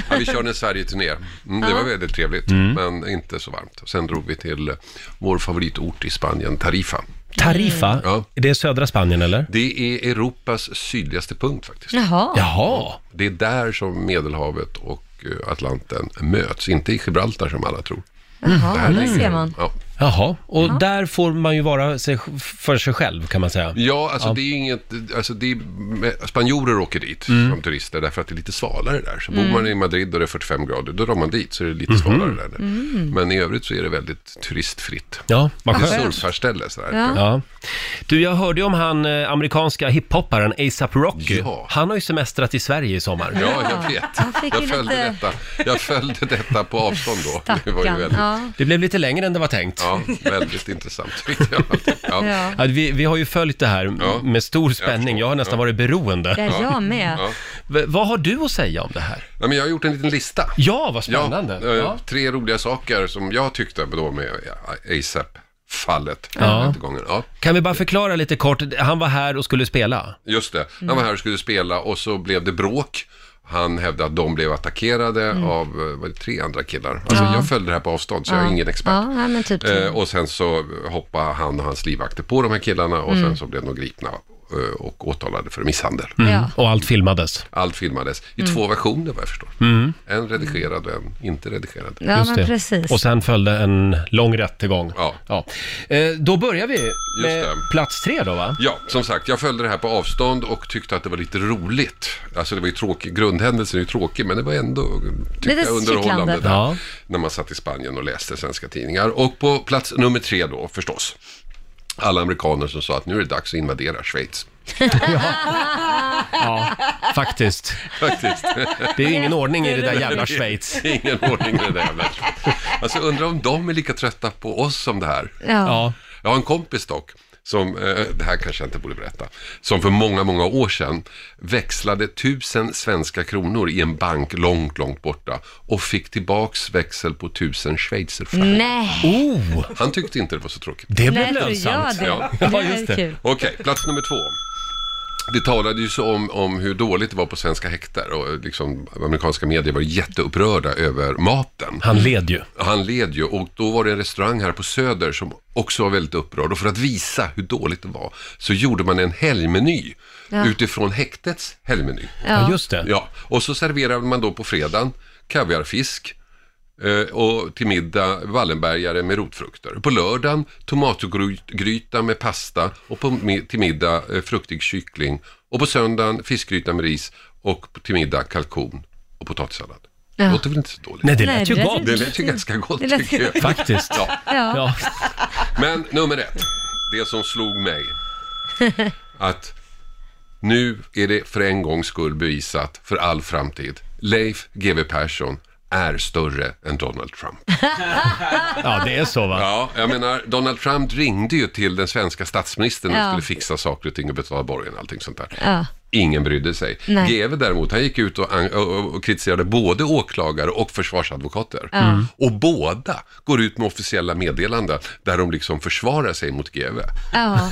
S10: ja, vi körde en Sverige-turné. Mm, det var väldigt trevligt, men inte så varmt. Sen drog vi till eh, vår favoritort i Spanien, Tarifa.
S1: Tarifa,
S10: Ja.
S1: det är södra Spanien eller?
S10: Det är Europas sydligaste punkt faktiskt.
S2: Jaha.
S1: Jaha,
S10: Det är där som Medelhavet och eh, Atlanten möts, inte i Gibraltar som alla tror.
S2: Jaha,
S10: här
S2: där
S10: ligger-
S2: ser man.
S10: Ja.
S1: jaha. Och där får man ju vara sig, för sig själv kan man säga.
S10: Ja, alltså det är ju inget, alltså det är, spanjorer åker dit som turister därför att det är lite svalare där. Så
S2: Mm.
S10: bor man i Madrid och det är 45 grader, då drar man dit så är det lite svalare där.
S2: Mm.
S10: Men i övrigt så är det väldigt turistfritt.
S1: Ja, vad
S10: Det är
S1: skönt.
S10: surfarställe sådär.
S2: Ja.
S1: Ja. Du, jag hörde ju om han eh, amerikanska hiphopparen ASAP Rocky.
S10: Ja.
S1: Han har ju semestrat i Sverige i sommar.
S10: Ja, jag vet.
S2: Jag fick ju
S10: Jag följde,
S2: lite-
S10: detta. jag följde detta på avstånd då. Det var ju
S2: Stackarn.
S10: väldigt, ja.
S2: Ja.
S1: Det blev lite längre än det var tänkt.
S10: väldigt intressant. tyckte jag. Ja.
S2: Ja.
S1: Ja, vi, vi har ju följt det här
S10: Ja,
S1: med stor
S10: jag
S1: spänning.
S10: förstår.
S1: Jag har nästan varit beroende.
S2: Där jag med.
S10: Ja.
S1: V- vad har du att säga om det här?
S10: Ja, men jag har gjort en liten lista.
S1: Ja, vad spännande.
S10: Ja, eh,
S1: Ja.
S10: Tre roliga saker som jag tyckte då med ASAP-fallet.
S1: Ja.
S10: Rättegången. Ja,
S1: Kan vi bara förklara lite kort? Han var här och skulle spela.
S10: just det. Han var här och skulle spela och så blev det bråk. Han hävdade att de blev attackerade
S1: Mm.
S10: av eh, var det, tre andra killar. Alltså, Jag följde det här på avstånd så jag är ingen expert.
S2: Ja, nej, men typ så.
S10: Eh, och sen så hoppade han och hans livvakter på de här killarna och
S1: Mm.
S10: sen så blev de gripna eh, och åtalade för misshandel.
S2: Ja.
S1: Och allt filmades.
S10: Allt filmades i
S1: Mm.
S10: två versioner vad jag förstår. En redigerad och en inte redigerad.
S2: Ja,
S1: Just
S2: men
S1: det.
S2: precis.
S1: Och sen följde en lång rättegång.
S10: Ja.
S1: Eh, då börjar vi med
S10: det.
S1: plats tre då, va?
S10: Ja, som sagt, jag följde det här på avstånd och tyckte att det var lite roligt. Alltså det var ju tråkigt, grundhändelsen är ju tråkig, men det var ändå tyckte
S2: Lite
S10: jag, underhållande
S2: kittlande.
S10: där,
S1: Ja.
S10: när man satt i Spanien och läste svenska tidningar. Och på plats nummer tre då, förstås. alla amerikaner som sa att nu är det dags att invadera Schweiz.
S1: Ja, faktiskt.
S10: Faktiskt.
S1: Det är ju ingen ordning i det där jävla Schweiz.
S10: Det är ingen ordning i det där jävla Schweiz. Alltså undrar om de är lika trötta på oss som det här.
S1: Ja. Ja.
S10: Jag har en kompis dock, som, eh, det här kanske jag inte borde berätta, som för många, många år sedan växlade tusen svenska kronor i en bank långt, långt borta och fick tillbaks växel på tusen schweizerfranc.
S2: Nej.
S1: Oh.
S10: Han tyckte inte det var så tråkigt.
S1: Det blev Nej, tror jag lönsamt. det. Det var just det. kul.
S10: Okej, plats nummer två. Det talade ju så om, om hur dåligt det var på svenska häkter och liksom, amerikanska medier var jätteupprörda över maten.
S1: Han led ju.
S10: Han led ju och då var det en restaurang här på Söder som också var väldigt upprörd och för att visa hur dåligt det var så gjorde man en helgmeny
S1: Ja.
S10: utifrån häktets helgmeny.
S1: Ja, just det.
S10: Ja, och så serverade man då på fredagen kaviarfisk eh, och till middag Wallenbergare med rotfrukter. På lördagen tomatgryta med pasta och på, mi- till middag eh, fruktig kyckling och på söndagen fiskgryta med ris och på- till middag kalkon och potatissallad.
S2: Ja.
S10: Låter väl inte så dåligt?
S1: Nej, det lät Nej, ju det lät gott.
S10: Det lät ju ganska gott
S2: Det lät
S10: tycker jag.
S2: gott.
S1: Faktiskt.
S10: Ja.
S2: Ja.
S10: Men nummer ett, det som slog mig att nu är det för en gångs skull bevisat för all framtid. Leif GW Persson är större än Donald Trump.
S1: Ja, det är så va?
S10: Ja, jag menar, Donald Trump ringde ju till den svenska statsministern och
S2: Ja.
S10: skulle fixa saker och ting och betala borgen och allting sånt där.
S2: Ja.
S10: Ingen brydde sig.
S2: Nej.
S10: GW däremot, han gick ut och, an- och, och kritiserade både åklagare och försvarsadvokater.
S2: Ja. Mm.
S10: Och båda går ut med officiella meddelanden där de liksom försvarar sig mot GW.
S2: ja.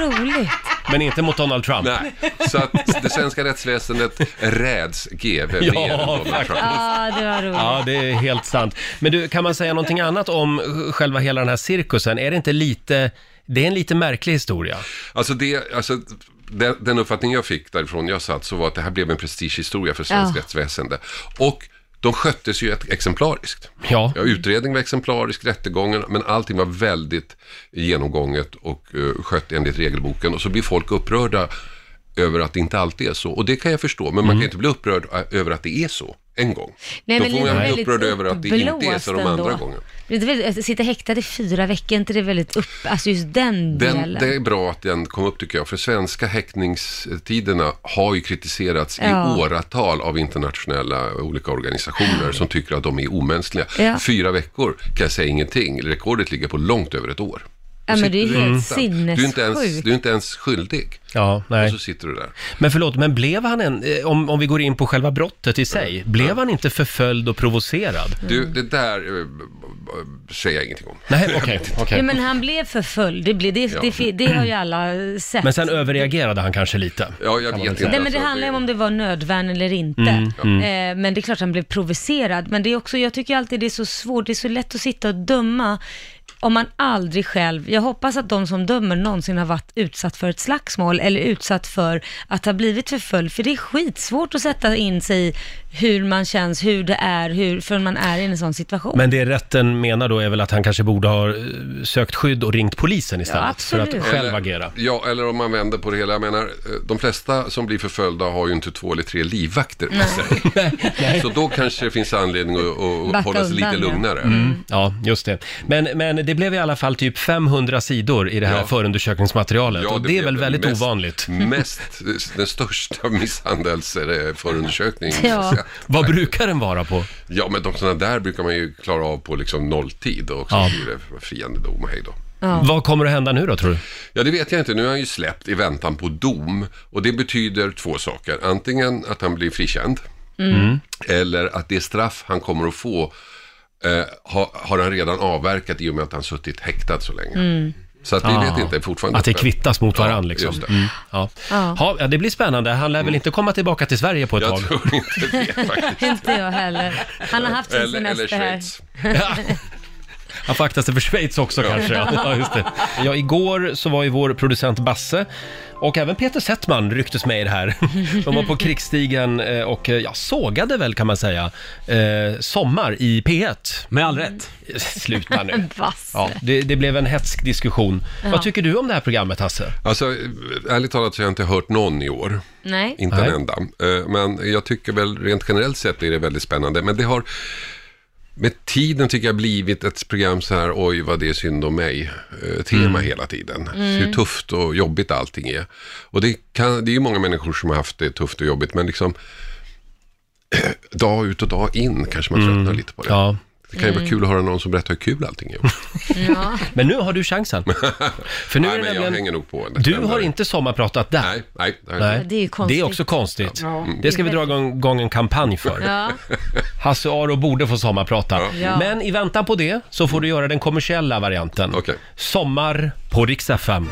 S2: roligt.
S1: Men inte mot Donald Trump.
S10: Nej, så att det svenska rättsväsendet räds GW
S1: Ja,
S10: mer än Donald Trump.
S2: Ja, det var roligt.
S1: Ja, det är helt sant. Men du, kan man säga någonting annat om själva hela den här cirkusen? Är det inte lite, det är en lite märklig historia?
S10: Alltså, det, alltså den, den uppfattning jag fick därifrån jag satt så var att det här blev en prestigehistoria för svenskt
S1: Ja.
S10: rättsväsende. Och de sköttes ju ett, exemplariskt.
S1: Ja.
S10: Utredningen var exemplarisk, rättegången, men allting var väldigt genomgånget och uh, skött enligt regelboken. Och så blir folk upprörda över att det inte alltid är så. Och det kan jag förstå, men man kan inte bli upprörd eh, över att det är så en gång.
S2: Nej,
S10: Då
S2: men
S10: får
S2: det är
S10: man bli
S2: väldigt
S10: upprörd över att det inte är så de
S2: uppblåst
S10: andra
S2: ändå.
S10: gången.
S2: Det är inte väldigt, att alltså, sitta häktad i fyra veckor, är inte det väldigt upp... Alltså just den,
S10: Den,
S2: delen.
S10: det är bra att den kom upp tycker jag, för svenska häktningstiderna har ju kritiserats
S2: Ja.
S10: i åratal av internationella olika organisationer som tycker att de är omänskliga.
S2: Ja.
S10: Fyra veckor kan jag säga ingenting, rekordet ligger på långt över ett år.
S2: Ja,
S10: Då
S2: men det är
S10: sitter
S2: helt
S10: du utan. Du är, inte ens,
S2: sinnessjukt.
S10: du är inte ens skyldig.
S1: Ja, nej.
S10: Och så sitter du där.
S1: Men förlåt, men blev han en, eh, om, om vi går in på själva brottet i sig, blev han inte förföljd och provocerad?
S10: Du, det där eh, b- b- säger jag ingenting om.
S1: Nej, okej, okej.
S2: Ja, men han blev förföljd, det, blev, det,
S1: Ja.
S2: det, det, har ju alla sett.
S1: Men sen överreagerade han kanske lite?
S10: Ja, jag
S1: vet
S2: Nej men det handlar ju om det var nödvärn eller inte.
S1: Mm, ja.
S2: Eh, men det är klart han blev provocerad. Men det är också, jag tycker alltid det är så svårt, det är så lätt att sitta och döma om man aldrig själv, jag hoppas att de som dömer någonsin har varit utsatt för ett slagsmål eller utsatt för att ha blivit förföljd, för det är skitsvårt att sätta in sig i hur man känns, hur det är, hur, förrän man är i en sån situation.
S1: Men det rätten menar då är väl att han kanske borde ha eh, sökt skydd och ringt polisen istället för att
S2: absolut.
S1: själv
S10: Eller-
S1: agera.
S10: Ja, eller om man vänder på det hela. Jag menar, eh, de flesta som blir förföljda har ju inte två eller tre livvakter med sig. Så då kanske det finns anledning att,
S1: Backa
S10: att hålla sig lite
S1: undan, ja.
S10: lugnare.
S1: Mm, ja, just det. Men, men det blev i alla fall typ 500 sidor i det här förundersökningsmaterialet och det är
S10: blev
S1: väl väldigt
S10: mest-
S1: ovanligt.
S10: Mest, eh, den största eh, misshandelsförundersökningen.
S1: Ja. Vad brukar den vara på?
S10: Ja, men de sådana där brukar man ju klara av på liksom nolltid och så
S1: Ja.
S10: blir det friande dom och hej då.
S1: Vad kommer att hända nu då tror du?
S10: Ja, det vet jag inte. Nu är han ju släppt i väntan på dom och det betyder två saker. Antingen att han blir frikänd
S11: Mm. Mm.
S10: eller att det straff han kommer att få eh, har, har han redan avverkat i och med att han suttit häktad så länge.
S1: Mm.
S10: Så att vi
S1: Ah.
S10: vet inte fortfarande.
S1: Att det kvittas mot
S10: Ja,
S1: varandra liksom.
S10: just det. Mm.
S1: Mm, ja.
S2: Ja.
S1: Ja, ja, det blir spännande. Han lär väl inte komma tillbaka till Sverige på ett tag?
S10: Jag tror inte
S2: inte jag heller. Han har haft sin
S1: Eller- eller
S2: semester här.
S1: Han får akta sig för Schweiz också kanske. Ja. Ja, just det. ja, igår så var ju vår producent Basse och även Peter Settman rycktes med i det här. De var på krigsstigen eh, och eh, ja, sågade väl kan man säga, eh, Sommar i P1.
S6: Med all rätt.
S1: Sluta nu.
S2: Basse.
S1: Ja, det, det blev en hätsk diskussion.
S2: Ja.
S1: Vad tycker du om det här programmet Hasse?
S10: Alltså, ärligt talat så har jag inte hört någon i år.
S2: Nej.
S10: Inte en enda. Eh, Men jag tycker väl rent generellt sett är det väldigt spännande. Men det har med tiden tycker jag blivit ett program så här, oj vad det är synd om mig, eh, tema
S11: Mm.
S10: hela tiden.
S11: Mm.
S10: Hur tufft och jobbigt allting är. Och det, kan, det är ju många människor som har haft det tufft och jobbigt, men liksom dag ut och dag in kanske man
S1: Mm.
S10: tröttnar lite på det.
S1: Ja.
S10: Det kan ju vara
S1: Mm.
S10: kul att höra någon som berättar hur kul allting är.
S2: Ja.
S1: Men nu har du chansen. För nu
S10: Nej, men
S1: är det
S10: jag
S1: nämligen...
S10: hänger nog på.
S1: Du har inte sommarpratat där. Nej,
S10: nej.
S2: Ja, det är ju konstigt.
S1: Det är också konstigt.
S2: Ja.
S1: Det ska vi dra igång igång en kampanj för.
S2: Ja.
S1: Hasse Aro borde få sommarprata.
S2: Ja.
S1: Men i väntan på det så får du göra den kommersiella varianten. Sommar på Rix FM.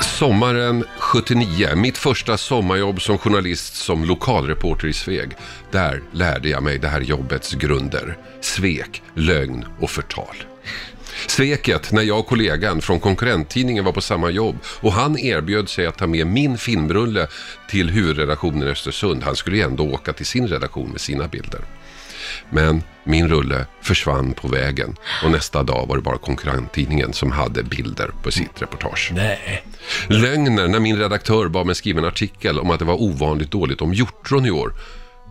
S10: Sommaren 79, mitt första sommarjobb som journalist som lokalreporter i Sveg. Där lärde jag mig det här jobbets grunder. Svek, lögn och förtal. Sveket när jag och kollegan från konkurrenttidningen var på samma jobb och han erbjöd sig att ta med min filmrulle till huvudredaktionen i Östersund. Han skulle ju ändå åka till sin redaktion med sina bilder. Men min rulle försvann på vägen och nästa dag var det bara konkurrenttidningen som hade bilder på sitt reportage.
S1: Nej.
S10: Lögner när min redaktör bad mig skriva en artikel om att det var ovanligt dåligt om hjortron i år.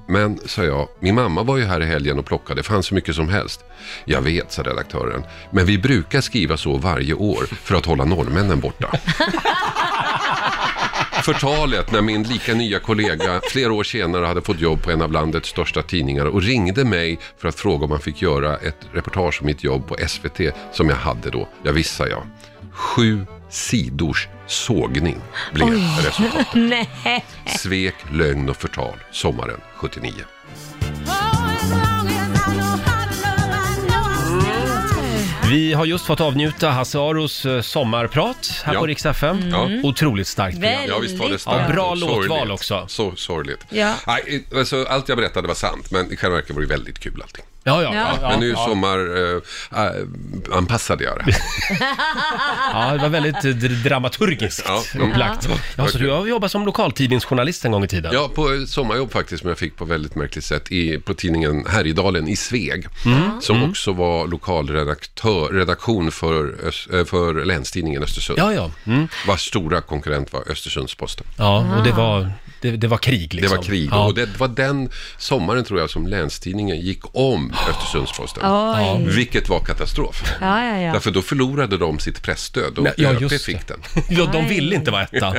S10: Men, sa jag, min mamma var ju här i helgen och plockade, det fanns så mycket som helst. Jag vet, sa redaktören, men vi brukar skriva så varje år för att hålla norrmännen borta. Förtalet när min lika nya kollega flera år senare hade fått jobb på en av landets största tidningar och ringde mig för att fråga om han fick göra ett reportage om mitt jobb på SVT som jag hade då. Jag visste jag. Sju sidors sågning blev resultatet.
S2: Nej.
S10: Svek, lögn och förtal, sommaren 79.
S1: Vi har just fått avnjuta Hasse Aros eh, sommarprat här
S10: Ja. Mm.
S1: på Rix FM.
S10: Ja.
S1: Otroligt starkt program.
S10: Ja, visst var det
S1: Ja,
S10: starkt.
S1: bra
S10: och
S1: låtval
S10: sorgligt.
S1: också.
S10: Så sorgligt.
S1: Ja.
S10: Nej, alltså, allt jag berättade var sant, men i själva verket var det väldigt kul allting.
S1: Ja, ja, ja.
S10: men nu är
S1: ja.
S10: sommar... Eh, eh, anpassade jag det här.
S1: Ja, det var väldigt eh, dr- dramaturgiskt upplagt.
S10: Ja.
S1: Ja, så du har jobbat som lokaltidningsjournalist en gång i tiden?
S10: Ja, på sommarjobb faktiskt som jag fick på väldigt märkligt sätt i, på tidningen Härjedalen i Sveg.
S1: Mm.
S10: Som
S1: Mm.
S10: också var lokalredaktör, redaktion för, Ös- eh, för Länstidningen Östersund.
S1: Ja, ja. Mm.
S10: Vars stora konkurrent var Östersunds-Posten.
S1: Ja, och det var, det, det var krig liksom.
S10: Det var krig
S1: Ja.
S10: och det var den sommaren tror jag som Länstidningen gick om Östersunds-Posten.
S2: Oj.
S10: Vilket var katastrof.
S2: Ja, ja, ja.
S10: Därför då förlorade de sitt pressstöd och
S1: Nej, ja,
S10: ÖP
S1: just
S10: fick
S1: det.
S10: den.
S1: Ja, de ville inte vara etta.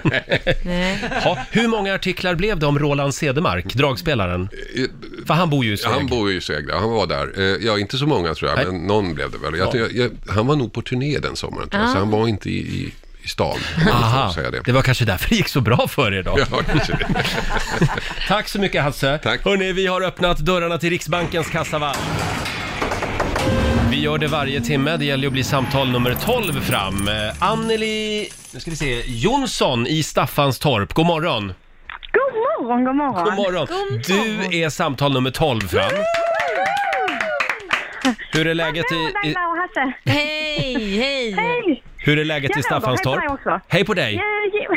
S2: Nej.
S1: Ja, hur många artiklar blev det om Roland Cedermark, dragspelaren? För han bor ju i Sveg.
S10: Han bor ju i Sveg, ja, han var där. Eh, Ja, inte så många tror jag,
S1: Nej.
S10: men någon blev det väl. Jag,
S1: Ja.
S10: jag, jag, han var nog på turné den sommaren, tror jag,
S1: Ah.
S10: så han var inte i, i, i stan. om man
S1: Aha,
S10: får säga det.
S1: det var kanske därför det gick så bra för er då.
S10: Ja, kanske det.
S1: Tack så mycket Hasse. Tack. Hörrni, vi har öppnat dörrarna till Riksbankens kassavalv. Vi gör det varje timme. Det gäller ju att bli samtal nummer 12 fram. Eh, Anneli, nu ska vi se, Jonsson i Staffanstorp. God morgon.
S7: God morgon, god morgon.
S1: Ah, God morgon. Du är samtal nummer 12 fram. Hur är läget i, i,
S7: Laila och Hasse.
S2: Hej, hej.
S7: Hej.
S1: hur är läget i
S7: Jag lovar,
S1: Staffanstorp?
S7: Hej på dig också.
S1: Hej på dig.
S7: Eh, Jo,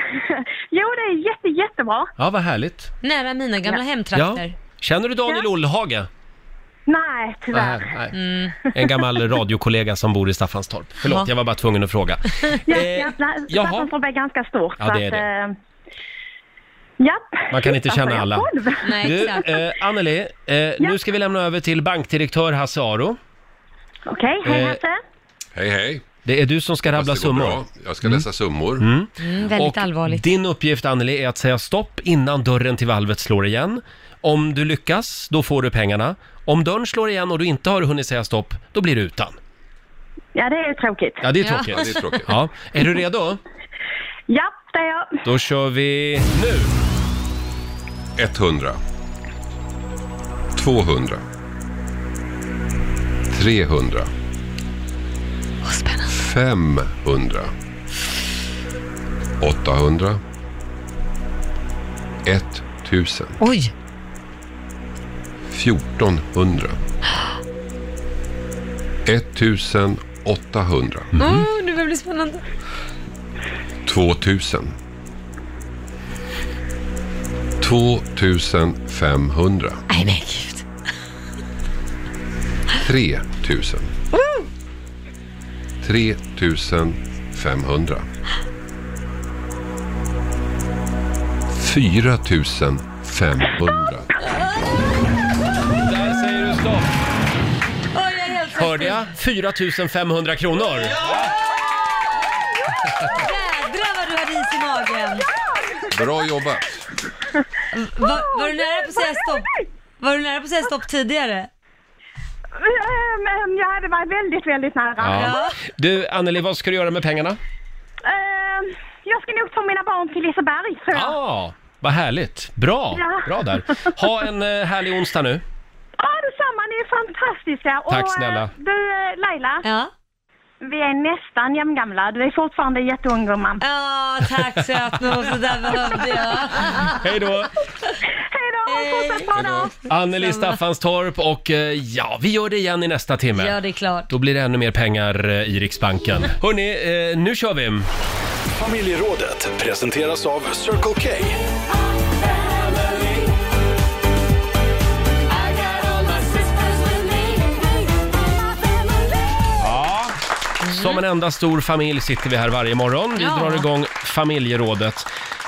S7: jo, det är jätte, jättebra.
S1: Ja, vad härligt.
S2: Nära mina gamla
S1: Ja.
S2: hemtrakter.
S1: Känner du Daniel Ollhage?
S7: Nej, tyvärr.
S1: Äh, Nej, nej. En gammal radiokollega som bor i Staffanstorp.
S7: Ja.
S1: Förlåt, jag var bara tvungen att fråga.
S7: Ja,
S1: Eh,
S7: ja, nej,
S1: jaha.
S7: Staffanstorp är ganska stort.
S1: Ja,
S7: så
S1: det är
S7: att, eh, Japp.
S1: Man kan inte
S7: Alltså,
S1: känna
S7: jag
S1: alla.
S7: själv.
S1: Du, eh, Anneli, eh, nu ska vi lämna över till bankdirektör Hasse Aro.
S7: Okej, hej
S1: eh,
S7: Hasse.
S10: Hej, hej.
S1: Det är du som ska rabbla
S10: Fast det går
S1: summor.
S10: bra. Jag ska läsa summor.
S2: Mm, väldigt
S1: Och
S2: allvarligt.
S1: Din uppgift, Anneli, är att säga stopp innan dörren till valvet slår igen. Om du lyckas, då får du pengarna. Om dörren slår igen och du inte har hunnit säga stopp, då blir du utan.
S7: Ja, det är ju tråkigt.
S1: Ja, det är tråkigt. Ja. Är du redo?
S7: Japp, det är jag.
S1: Då kör vi nu!
S10: 100. 200. 300. 500. 800. 1000.
S2: Oj!
S10: 1400. 1800.
S1: Mm.
S2: Oh, det börjar bli spännande.
S10: 2000. 2500.
S2: Nej men gud.
S10: 3 000. 3 500. 4 500.
S1: Där säger du stopp.
S2: Oj, jag är helt
S1: Hörde jag? 4 500 kronor.
S2: Jädrar vad du hade is i magen.
S10: Bra jobbat.
S2: Var, var du nära på att säga stopp? Var du nära på att säga stopp tidigare?
S11: Eh, Men jag hade varit väldigt, väldigt nära.
S1: Ja. Du, Anneli, vad ska du göra med pengarna?
S11: Eh, Jag ska nog ta mina barn till Liseberg, tror jag.
S1: Ja, Ah, vad härligt. Bra,
S11: Ja.
S1: bra där. Ha en eh, härlig onsdag nu.
S11: Ja, detsamma. Ni är fantastiska. Och,
S1: Tack snälla.
S11: eh, Du, eh, Laila.
S2: Ja?
S11: Vi är nästan jämngamla. Du är fortfarande jätteung, gumman.
S2: Ja, tack sötnos. Det där behövde jag.
S1: Hej då!
S11: Hej
S2: Eh,
S11: då! Fortsätt bra dag!
S1: Anneli
S2: Detsamma.
S1: Staffanstorp och eh, ja, vi gör det igen i nästa timme.
S2: Ja, det är klart.
S1: Då blir det ännu mer pengar eh, i Riksbanken. Hörni, eh, nu kör vi!
S4: Familjerådet presenteras av Circle K.
S1: Ja. Som en enda stor familj sitter vi här varje morgon. Vi
S2: Ja.
S1: drar igång familjerådet.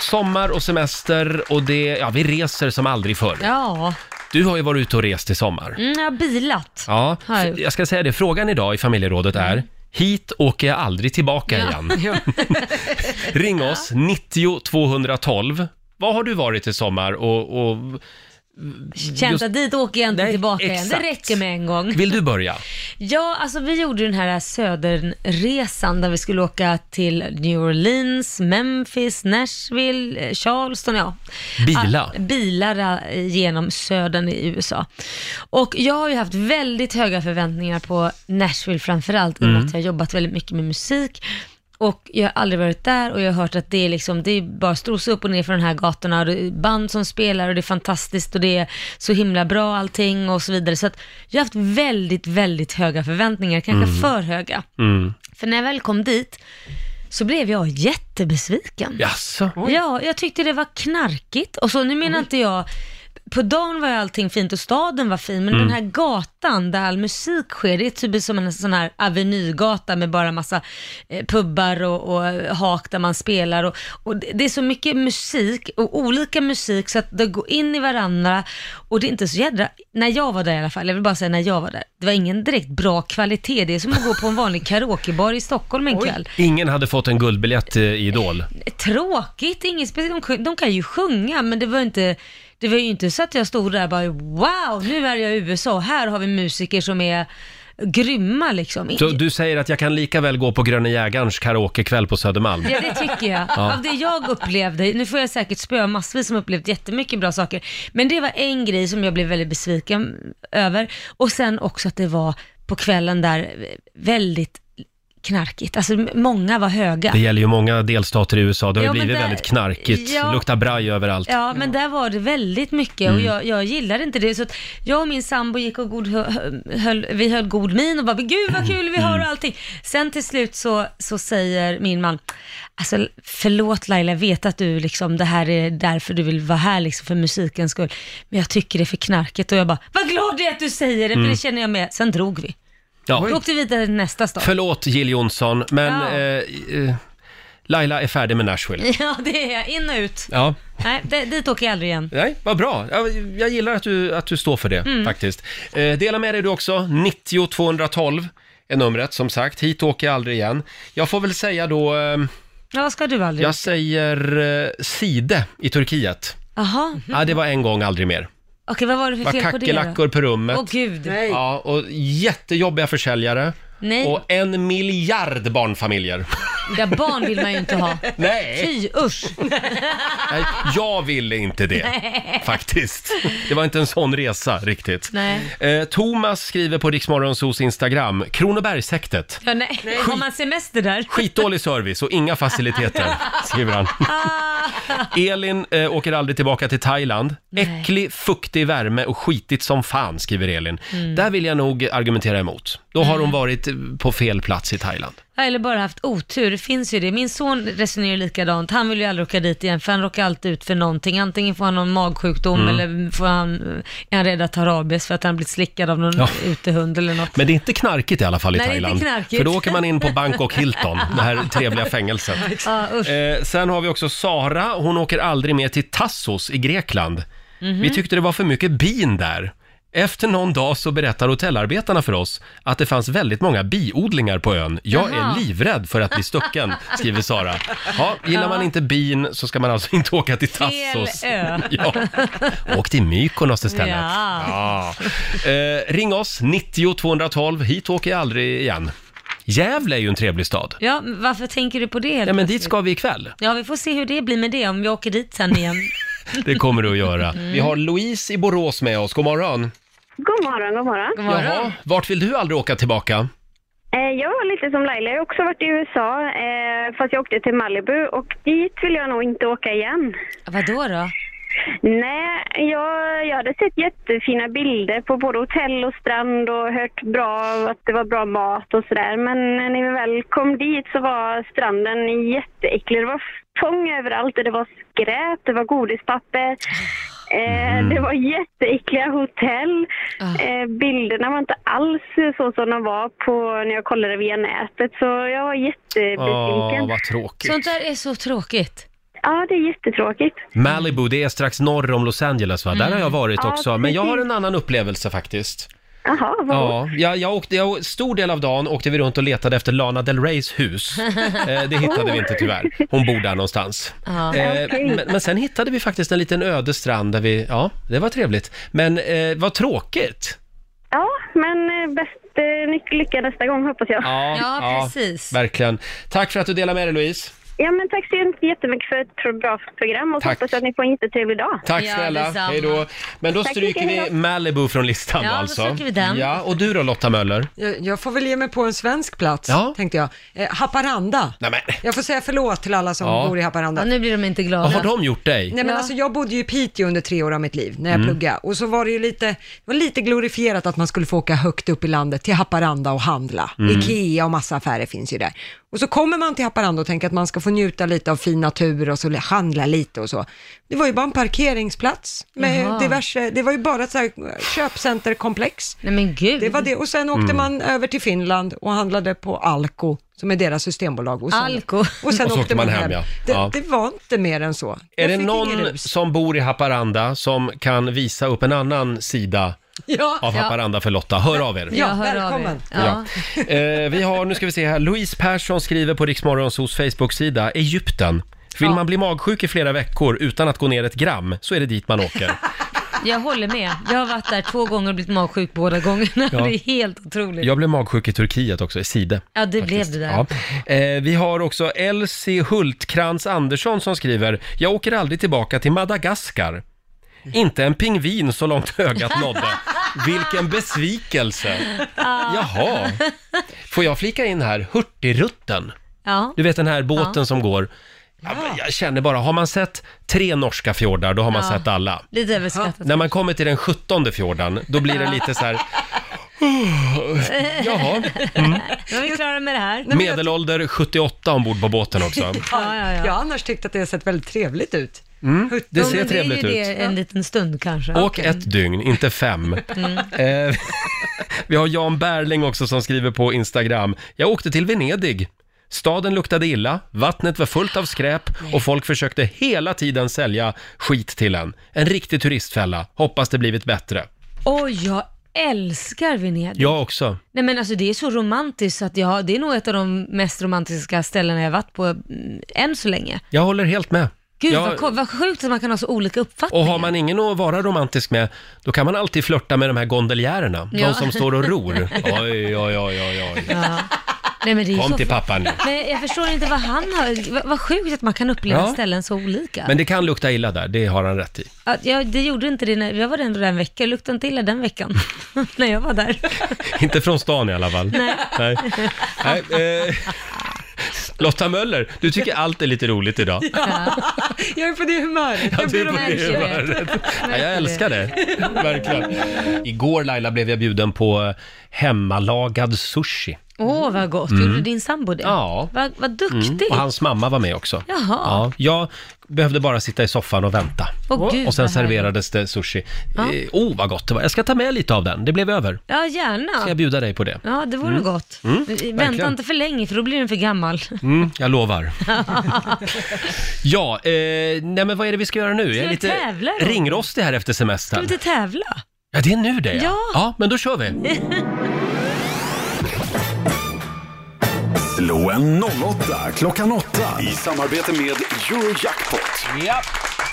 S1: Sommar och semester och det, ja, vi reser som aldrig förr.
S2: Ja,
S1: Du har ju varit ute och rest i sommar.
S2: mm, jag har bilat.
S1: Ja,
S2: Har jag Mm.
S1: f- jag ska säga det. Frågan idag i familjerådet är, hit åker jag aldrig tillbaka igen. Ring oss, 90 212. Vad har du varit i sommar och, och
S2: Känt
S1: just-
S2: att dit åker jag inte tillbaka igen.
S1: exakt.
S2: Det räcker med en gång.
S1: vill du börja?
S2: Ja, alltså vi gjorde den här söderresan där vi skulle åka till New Orleans, Memphis, Nashville, eh, Charleston, ja.
S1: Bila.
S2: Ah, bilar eh, genom södern i USA. Och jag har ju haft väldigt höga förväntningar på Nashville framförallt, i och med
S12: Mm.
S2: att jag har jobbat väldigt mycket med musik. Och jag har aldrig varit där och jag har hört att det är liksom, det är bara strosa upp och ner för de här gatorna och det är band som spelar och det är fantastiskt och det är så himla bra allting och så vidare. Så att jag har haft väldigt, väldigt höga förväntningar, kanske
S12: Mm.
S2: för höga.
S1: Mm.
S2: För när jag väl kom dit så blev jag jättebesviken.
S1: Jaså?
S2: Ja, jag tyckte det var knarkigt. Och så, nu menar inte jag, på dagen var ju allting fint och staden var fin, men
S12: Mm.
S2: den här gatan där all musik sker, det är typ som en sån här avenygata med bara massa eh, pubbar och, och hak där man spelar. Och, och det det är så mycket musik och olika musik så att det går in i varandra och det är inte så jädra, när jag var där i alla fall, jag vill bara säga när jag var där, det var ingen direkt bra kvalitet. Det är som att gå på en vanlig karaokebar i Stockholm en kväll
S1: Ingen hade fått en guldbiljett eh, i Idol.
S2: tråkigt, inget speciellt. De, de kan ju sjunga, men det var inte det var ju inte så att jag stod där och bara wow, nu är jag i USA, här har vi musiker som är grymma liksom.
S1: Så du säger att jag kan lika väl gå på Gröna Jägarens karaokekväll på Södermalm?
S2: Ja, det tycker jag.
S1: Ja.
S2: Av det jag upplevde, nu får jag säkert spöa massvis som upplevt jättemycket bra saker, men det var en grej som jag blev väldigt besviken över. Och sen också att det var på kvällen där eh, väldigt knarkigt. Alltså många var höga.
S1: Det gäller ju många delstater i USA. Det har ju
S2: Ja, men
S1: blivit
S2: där-
S1: väldigt knarkigt.
S2: Ja.
S1: Luktar braj överallt.
S2: Ja, men där var det väldigt mycket och
S1: Mm.
S2: jag, jag gillade inte det. Så att jag och min sambo gick och god, hö- höll, vi höll god min och bara, gud vad kul vi
S1: Mm.
S2: har och allting. Sen till slut så, så säger min man, alltså förlåt Laila, jag vet att du liksom, det här är därför du vill vara här liksom för musikens skull, men jag tycker det är för knarkigt och jag bara, vad glad jag är att du säger det, för
S1: Mm.
S2: det känner jag med. Sen drog vi.
S1: Ja.
S2: Då åkte vi vidare till nästa stad.
S1: Förlåt Jill Johnson, men
S2: Ja.
S1: eh, eh, Laila är färdig med Nashville.
S2: Ja, det är jag. In och ut.
S1: Ja.
S2: Nej, det, dit åker jag aldrig igen.
S1: Nej, vad bra. Jag, jag gillar att du, att du står för det
S2: Mm.
S1: faktiskt. Eh, dela med dig du också. 90 212 är numret som sagt. Hit åker jag aldrig igen. Jag får väl säga då, eh,
S2: Ja, vad ska du aldrig?
S1: jag säger eh, Side i Turkiet.
S2: Jaha.
S1: Ja, det var en gång, aldrig mer.
S2: Okej, vad var det
S1: Det
S2: för
S1: var
S2: fel på det då?
S1: kackerlackor på rummet.
S2: Åh gud.
S1: Ja, och jättejobbiga försäljare.
S2: Nej.
S1: Och en miljard barnfamiljer.
S2: Ja, barn vill man ju inte ha.
S1: Nej.
S2: Fy, usch.
S1: Nej, jag ville inte det,
S2: Nej.
S1: faktiskt. Det var inte en sån resa riktigt.
S2: Nej.
S1: Eh, Thomas skriver på Riksmorgonsos Instagram, Kronobergshäktet.
S2: Ja, nej. Har man semester där?
S1: Skitdålig service och inga faciliteter, skriver han.
S2: Ah.
S1: Elin eh, åker aldrig tillbaka till Thailand.
S2: Nej.
S1: Äcklig, fuktig värme och skitigt som fan, skriver Elin.
S2: Mm.
S1: Där vill jag nog argumentera emot. Då har hon varit eh, på fel plats i Thailand.
S2: Ja, eller bara haft otur, det finns ju det. Min son resonerar ju likadant, han vill ju aldrig åka dit igen för han råkar alltid ut för någonting. Antingen får han någon magsjukdom
S1: Mm.
S2: eller får han, är han rädd att ha rabies för att han blivit slickad av någon
S1: Ja.
S2: utehund eller något.
S1: Men det är inte knarkigt i alla fall i
S2: Nej, det är inte
S1: Thailand.
S2: knarkigt.
S1: För då åker man in på Bangkok Hilton, det här trevliga fängelset.
S2: Ja, Ah, usch.
S1: Eh, sen har vi också Sara, hon åker aldrig med till Tassos i Grekland.
S2: Mhm.
S1: Vi tyckte det var för mycket bin där. Efter någon dag så berättar hotellarbetarna för oss att det fanns väldigt många biodlingar på ön. Jag
S2: Jaha.
S1: är livrädd för att bli stucken, skriver Sara. Ja, gillar
S2: Ja.
S1: man inte bin så ska man alltså inte åka till Tassos.
S2: Fel ö.
S1: Ja. Åk till Mykonos istället.
S2: Ja.
S1: Ja. Eh, ring oss, 90 212. Hit åker jag aldrig igen. Gävle är ju en trevlig stad.
S2: Ja, men varför tänker du på det? helt
S1: Ja, men dit
S2: plötsligt?
S1: ska vi ikväll.
S2: Ja, vi får se hur det blir med det om jag åker dit sen igen.
S1: Det kommer du att göra.
S2: Mm.
S1: Vi har Louise i Borås med oss. God morgon.
S11: God morgon, god morgon. God
S1: Jaha, vart vill du aldrig åka tillbaka?
S11: Eh, jag var lite som Laila, jag har också varit i USA, eh, fast jag åkte till Malibu och dit vill jag nog inte åka igen.
S2: Vadå då?
S11: Nej, jag, jag hade sett jättefina bilder på både hotell och strand och hört bra att det var bra mat och sådär. Men när vi väl kom dit så var stranden jätteäcklig. Det var fång överallt och det var skräp, det var godispapper. Eh,
S1: Mm.
S11: Det var jätteäckliga hotell.
S1: Ah.
S11: Eh, bilderna var inte alls så som de var på när jag kollade via nätet. Så jag var jättebesviken.
S1: Åh, vad tråkigt.
S2: Sånt där är så tråkigt.
S11: Ja, det är jättetråkigt.
S1: Malibu, det är strax norr om Los Angeles va? Där har jag varit
S11: Ja,
S1: också, men jag har
S11: precis.
S1: en annan upplevelse faktiskt.
S11: Jaha, vad
S1: Ja, jag, jag åkte, jag, stor del av dagen åkte vi runt och letade efter Lana Del Reys hus. Eh, det hittade vi inte tyvärr. Hon bor där någonstans.
S2: Ja.
S1: Eh,
S2: Okej.
S1: men, men sen hittade vi faktiskt en liten öde strand där vi, ja, det var trevligt. Men eh, vad tråkigt!
S11: Ja, men eh, bäst eh, nyck- lycka nästa gång hoppas jag.
S1: verkligen. Tack för att du delar med dig Louise.
S11: Ja, men tack så jättemycket för ett pro- bra program och så
S1: Tack.
S11: hoppas jag att ni får en jättetrevlig dag.
S1: Tack snälla, hej då. Men då
S11: Tack så
S1: stryker
S11: mycket,
S1: vi
S11: hej
S1: Malibu från listan
S3: Ja, då
S1: alltså.
S3: stryker vi den.
S1: Ja, och du då Lotta Möller?
S3: Jag, jag får väl ge mig på en svensk plats,
S1: Ja.
S3: tänkte jag. Eh, Haparanda.
S1: Nej, men.
S3: Jag får säga förlåt till alla som
S1: Ja.
S3: bor i Haparanda.
S2: nu blir de inte glada.
S1: Vad har de gjort dig?
S3: Nej men alltså jag bodde ju i Piteå under tre år av mitt liv när jag
S1: Mm.
S3: pluggade och så var det ju lite, det var lite glorifierat att man skulle få åka högt upp i landet till Haparanda och handla.
S12: Mm.
S3: Ikea och massa affärer finns ju där. Och så kommer man till Haparanda och tänker att man ska få njuta lite av fin natur och så handla lite och så. Det var ju bara en parkeringsplats med
S2: Jaha.
S3: diverse, det var ju bara ett så här eh, köpcenterkomplex.
S2: Nej men gud.
S3: Det var det och sen åkte
S1: Mm.
S3: man över till Finland och handlade på Alko som är deras systembolag. Och sen,
S2: Alko.
S3: Och sen
S1: Och så
S3: åkte man hem.
S1: ja.
S3: Det,
S1: Ja.
S3: det var inte mer än så.
S1: Är
S3: Jag
S1: det
S3: fick ingen
S1: någon som bor i Haparanda som kan visa upp en annan sida
S3: Ja.
S1: av Haparanda för Lotta? Hör av er.
S3: Ja, välkommen.
S1: Ja. Eh, vi har, nu ska vi se här, Louise Persson skriver på Riksmorgonsos Facebook-sida, Egypten. Vill man bli magsjuk i flera veckor utan att gå ner ett gram så är det dit man åker.
S2: Jag håller med. Jag har varit där två gånger och blivit magsjuk båda gångerna.
S1: Ja.
S2: Det är helt otroligt.
S1: Jag blev magsjuk i Turkiet också, i Side.
S2: Ja, det blev det där.
S1: Ja. Eh, vi har också Elsie Hultkrans Andersson som skriver, jag åker aldrig tillbaka till Madagaskar. Inte en pingvin så långt ögat nådde. Vilken besvikelse!
S2: Ah.
S1: Jaha. Får jag flika in här, Hurtigruten?
S2: Ja.
S1: Du vet den här båten
S2: Ja.
S1: som går. Ja, men Jag känner bara, har man sett tre norska fjordar, då har man
S2: Ja.
S1: sett alla.
S2: Lite överskattat.
S1: När man kommer till den sjuttonde fjordan, då blir det lite så här... Jaha. Mm.
S2: Nu är vi klara med det här.
S1: Medelålder 78 ombord på båten också.
S2: Ja, ja, ja.
S3: Jag har annars tyckt att det har sett väldigt trevligt ut.
S1: Mm. Det
S2: Jo,
S1: ser
S2: men
S1: trevligt
S2: Det är ju
S1: ut.
S2: det en liten stund kanske.
S1: Åk ett dygn, inte fem.
S2: Mm.
S1: Eh, vi har Jan Berling också som skriver på Instagram. Jag åkte till Venedig. Staden luktade illa, vattnet var fullt av skräp och folk försökte hela tiden sälja skit till en. En riktig turistfälla. Hoppas det blivit bättre.
S2: Och jag älskar Venedig.
S1: Jag också.
S2: Nej men alltså det är så romantiskt så att jag, det är nog ett av de mest romantiska ställena jag varit på mm, än så länge.
S1: Jag håller helt med.
S2: Gud
S1: Jag-
S2: vad, ko- vad sjukt att man kan ha så olika uppfattningar.
S1: Och har man ingen att vara romantisk med, då kan man alltid flörta med de här gondoljärerna.
S2: Ja.
S1: De som står och ror. Oj, oj, oj, oj, oj.
S2: Ja. Nej, men det är ju
S1: Kom
S2: så
S1: till
S2: fa-
S1: pappa nu.
S2: Men jag förstår inte vad han har, vad, vad sjukt att man kan uppleva
S1: Ja.
S2: ställen så olika.
S1: Men det kan lukta illa där, det har han rätt i.
S2: Att jag, det gjorde inte det när, jag var där ändå där en vecka, det luktade inte illa den veckan. när jag var där.
S1: Inte från stan i alla fall.
S2: Nej.
S1: Nej. Nej, eh, Lotta Möller, du tycker allt är lite roligt idag.
S3: Jag är på det humöret.
S1: Ja,
S3: Jag
S1: du är
S3: ber
S1: på
S3: om
S1: det
S3: ursäkt.
S1: humöret. Nej, jag älskar det, verkligen. Igår Laila blev jag bjuden på hemmalagad sushi.
S2: Åh, vad gott.
S1: Mm.
S2: Gjorde din sambo det?
S1: Ja. Mm.
S2: Vad, vad duktig.
S1: Och hans mamma var med också.
S2: Jaha.
S1: Ja, jag behövde bara sitta i soffan och vänta.
S2: Åh, gud,
S1: och sen
S2: vad
S1: serverades det sushi.
S2: Ja.
S1: Eh, oh, vad gott det var. Jag ska ta med lite av den. Det blev över.
S2: Ja, gärna.
S1: Ska jag bjuda dig på det?
S2: Ja, det vore
S1: Mm.
S2: gott.
S1: Mm,
S2: Vänta
S1: verkligen.
S2: inte för länge, för då blir den för gammal.
S1: Mm, jag lovar. ja, eh, nej men vad är det vi ska göra nu?
S2: Ska
S1: jag är
S2: vi
S1: lite
S2: tävla då?
S1: ringrostig här efter
S2: Ska vi
S1: semestern.
S2: inte tävla?
S1: Ja, det är nu det
S2: Ja.
S1: ja, men då kör vi.
S4: Slå en 08 klockan 8 i samarbete med Eurojackpot.
S1: Ja.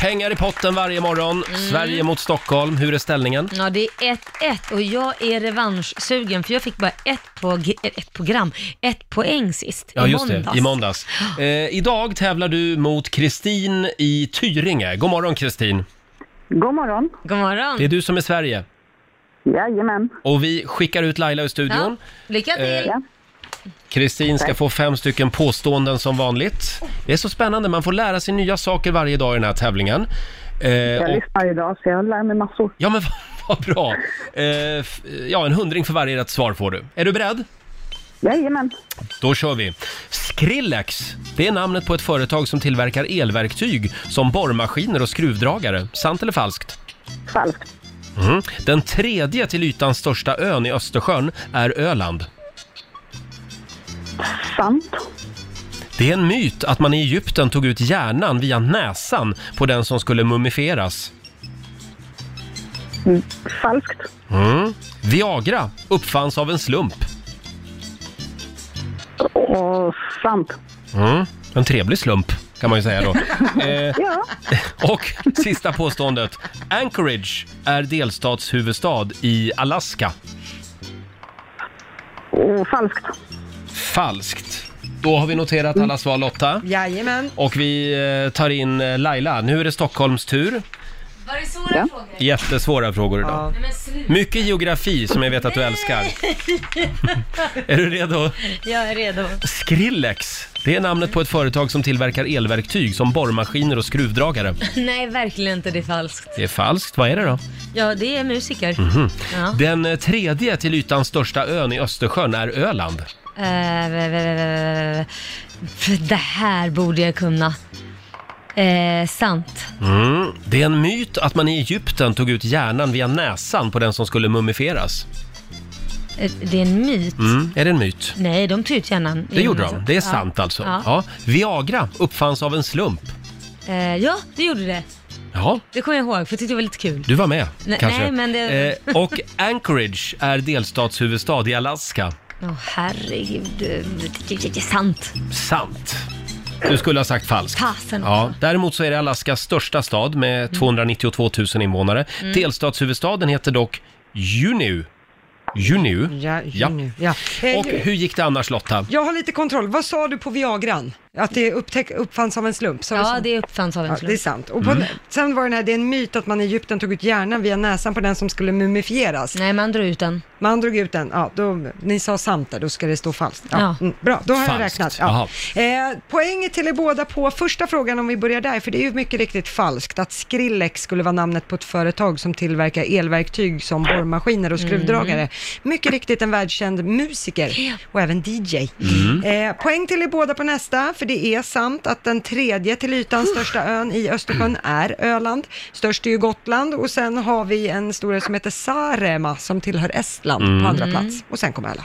S1: Pengar i potten varje morgon.
S2: Mm.
S1: Sverige mot Stockholm. Hur är ställningen?
S2: Ja, det är 1-1 och jag är revanschsugen för jag fick bara ett, på, ett program, ett poäng sist.
S1: Ja,
S2: i
S1: just det.
S2: måndags.
S1: I måndags. Eh, idag tävlar du mot Kristin i Tyringe. God morgon, Kristin.
S2: God morgon. God morgon.
S1: Det är du som är Sverige.
S12: Jajamän.
S1: Och vi skickar ut Laila ur studion.
S2: Lycka till.
S1: Eh, Kristin ska
S2: Tack.
S1: få fem stycken påståenden som vanligt. Det är så spännande, man får lära sig nya saker varje dag i den här tävlingen. Eh,
S12: Jag
S1: och-
S12: lyssnar idag så jag lär mig massor.
S1: Ja, men vad, vad bra! Eh, f- ja, en hundring för varje rätt svar får du. Är du beredd?
S12: Jajamän.
S1: Då kör vi! Skrillex, det är namnet på ett företag som tillverkar elverktyg som borrmaskiner och skruvdragare. Sant eller falskt?
S12: Falskt.
S1: Mhm. Den tredje till ytan största ön i Östersjön är Öland.
S12: Sant.
S1: Det är en myt att man i Egypten tog ut hjärnan via näsan på den som skulle mumifieras.
S12: Mm. Falskt.
S1: Mm. Viagra uppfanns av en slump.
S12: Och sant.
S1: Mm. En trevlig slump, kan man ju säga då. Eh,
S12: Ja.
S1: och sista påståendet. Anchorage är delstatshuvudstad i Alaska.
S12: Och falskt.
S1: Falskt. Då har vi noterat allas val, Lotta.
S3: Jajamän.
S1: Och vi eh, tar in eh, Laila. Nu är det Stockholms tur.
S2: Var det svåra frågor?
S1: Jättesvåra frågor idag.
S2: Nej, men sluta.
S1: Mycket geografi som jag vet att du älskar. Är du redo?
S2: jag är redo.
S1: Skrillex. Det är namnet på ett företag som tillverkar elverktyg som borrmaskiner och skruvdragare.
S2: Nej, verkligen inte. Det är falskt.
S1: Det är falskt. Vad är det då?
S2: Ja, det är musiker.
S1: Mhm.
S2: Ja.
S1: Den eh, tredje till ytan största ön i Östersjön är Öland.
S2: Eh, v- v- v- v- det här borde jag kunna. Eh, sant.
S1: Mm. Det är en myt att man i Egypten tog ut hjärnan via näsan på den som skulle mumifieras.
S2: Eh, Det är en myt.
S1: Mm. Är det en myt?
S2: Nej, de tar ut hjärnan.
S1: Det gjorde
S2: Alltså.
S1: de. Det är
S2: Ja.
S1: sant alltså.
S2: Ja.
S1: Ja. Viagra uppfanns av en slump.
S2: Eh, ja, det gjorde det.
S1: Ja,
S2: Det kommer jag ihåg, för jag tyckte det var lite kul.
S1: du var med
S2: Nej,
S1: kanske.
S2: nej, men det-
S1: Eh, och Anchorage är delstatshuvudstad i Alaska.
S2: Åh, herregud. Det är sant.
S1: Sant. Du skulle ha sagt falskt.
S2: Fasen
S1: Ja, däremot så är det Alaskas största stad med 292 000 invånare.
S3: Mm.
S1: Delstatshuvudstaden heter dock Juneau. Juneau?
S3: Ja, Juneau. Eh,
S1: Och hur gick det annars Lotta?
S3: Jag har lite kontroll. Vad sa du på Viagran? Att det upptäck, uppfanns av en slump? Sa du
S2: Ja,
S3: sant?
S2: det uppfanns av en
S3: Ja,
S2: slump.
S3: det är sant. Och på,
S1: Mm.
S3: Sen var det den här, det är en myt att man i Egypten tog ut hjärnan via näsan på den som skulle mumifieras.
S2: Nej, man drog ut den.
S3: Man drog ut den, ja. Då, ni sa sant där, då ska det stå falskt. Ja.
S2: Ja.
S3: Mm, bra, då har jag
S2: Falskt.
S3: räknat. Ja. Eh, poäng till er båda på första frågan om vi börjar där, för det är ju mycket riktigt falskt att Skrillex skulle vara namnet på ett företag som tillverkar elverktyg som borrmaskiner och skruvdragare.
S13: Mm.
S3: Mycket riktigt en världskänd musiker och även DJ.
S13: Mm.
S3: Eh, poäng till er båda på nästa, för det är sant att den tredje till ytan största ön i Östersjön är Öland. Störst är ju Gotland och sen har vi en stor ö som heter Sarema som tillhör Estland
S13: Mm.
S3: på andra
S13: Mm.
S3: plats och sen kommer alla.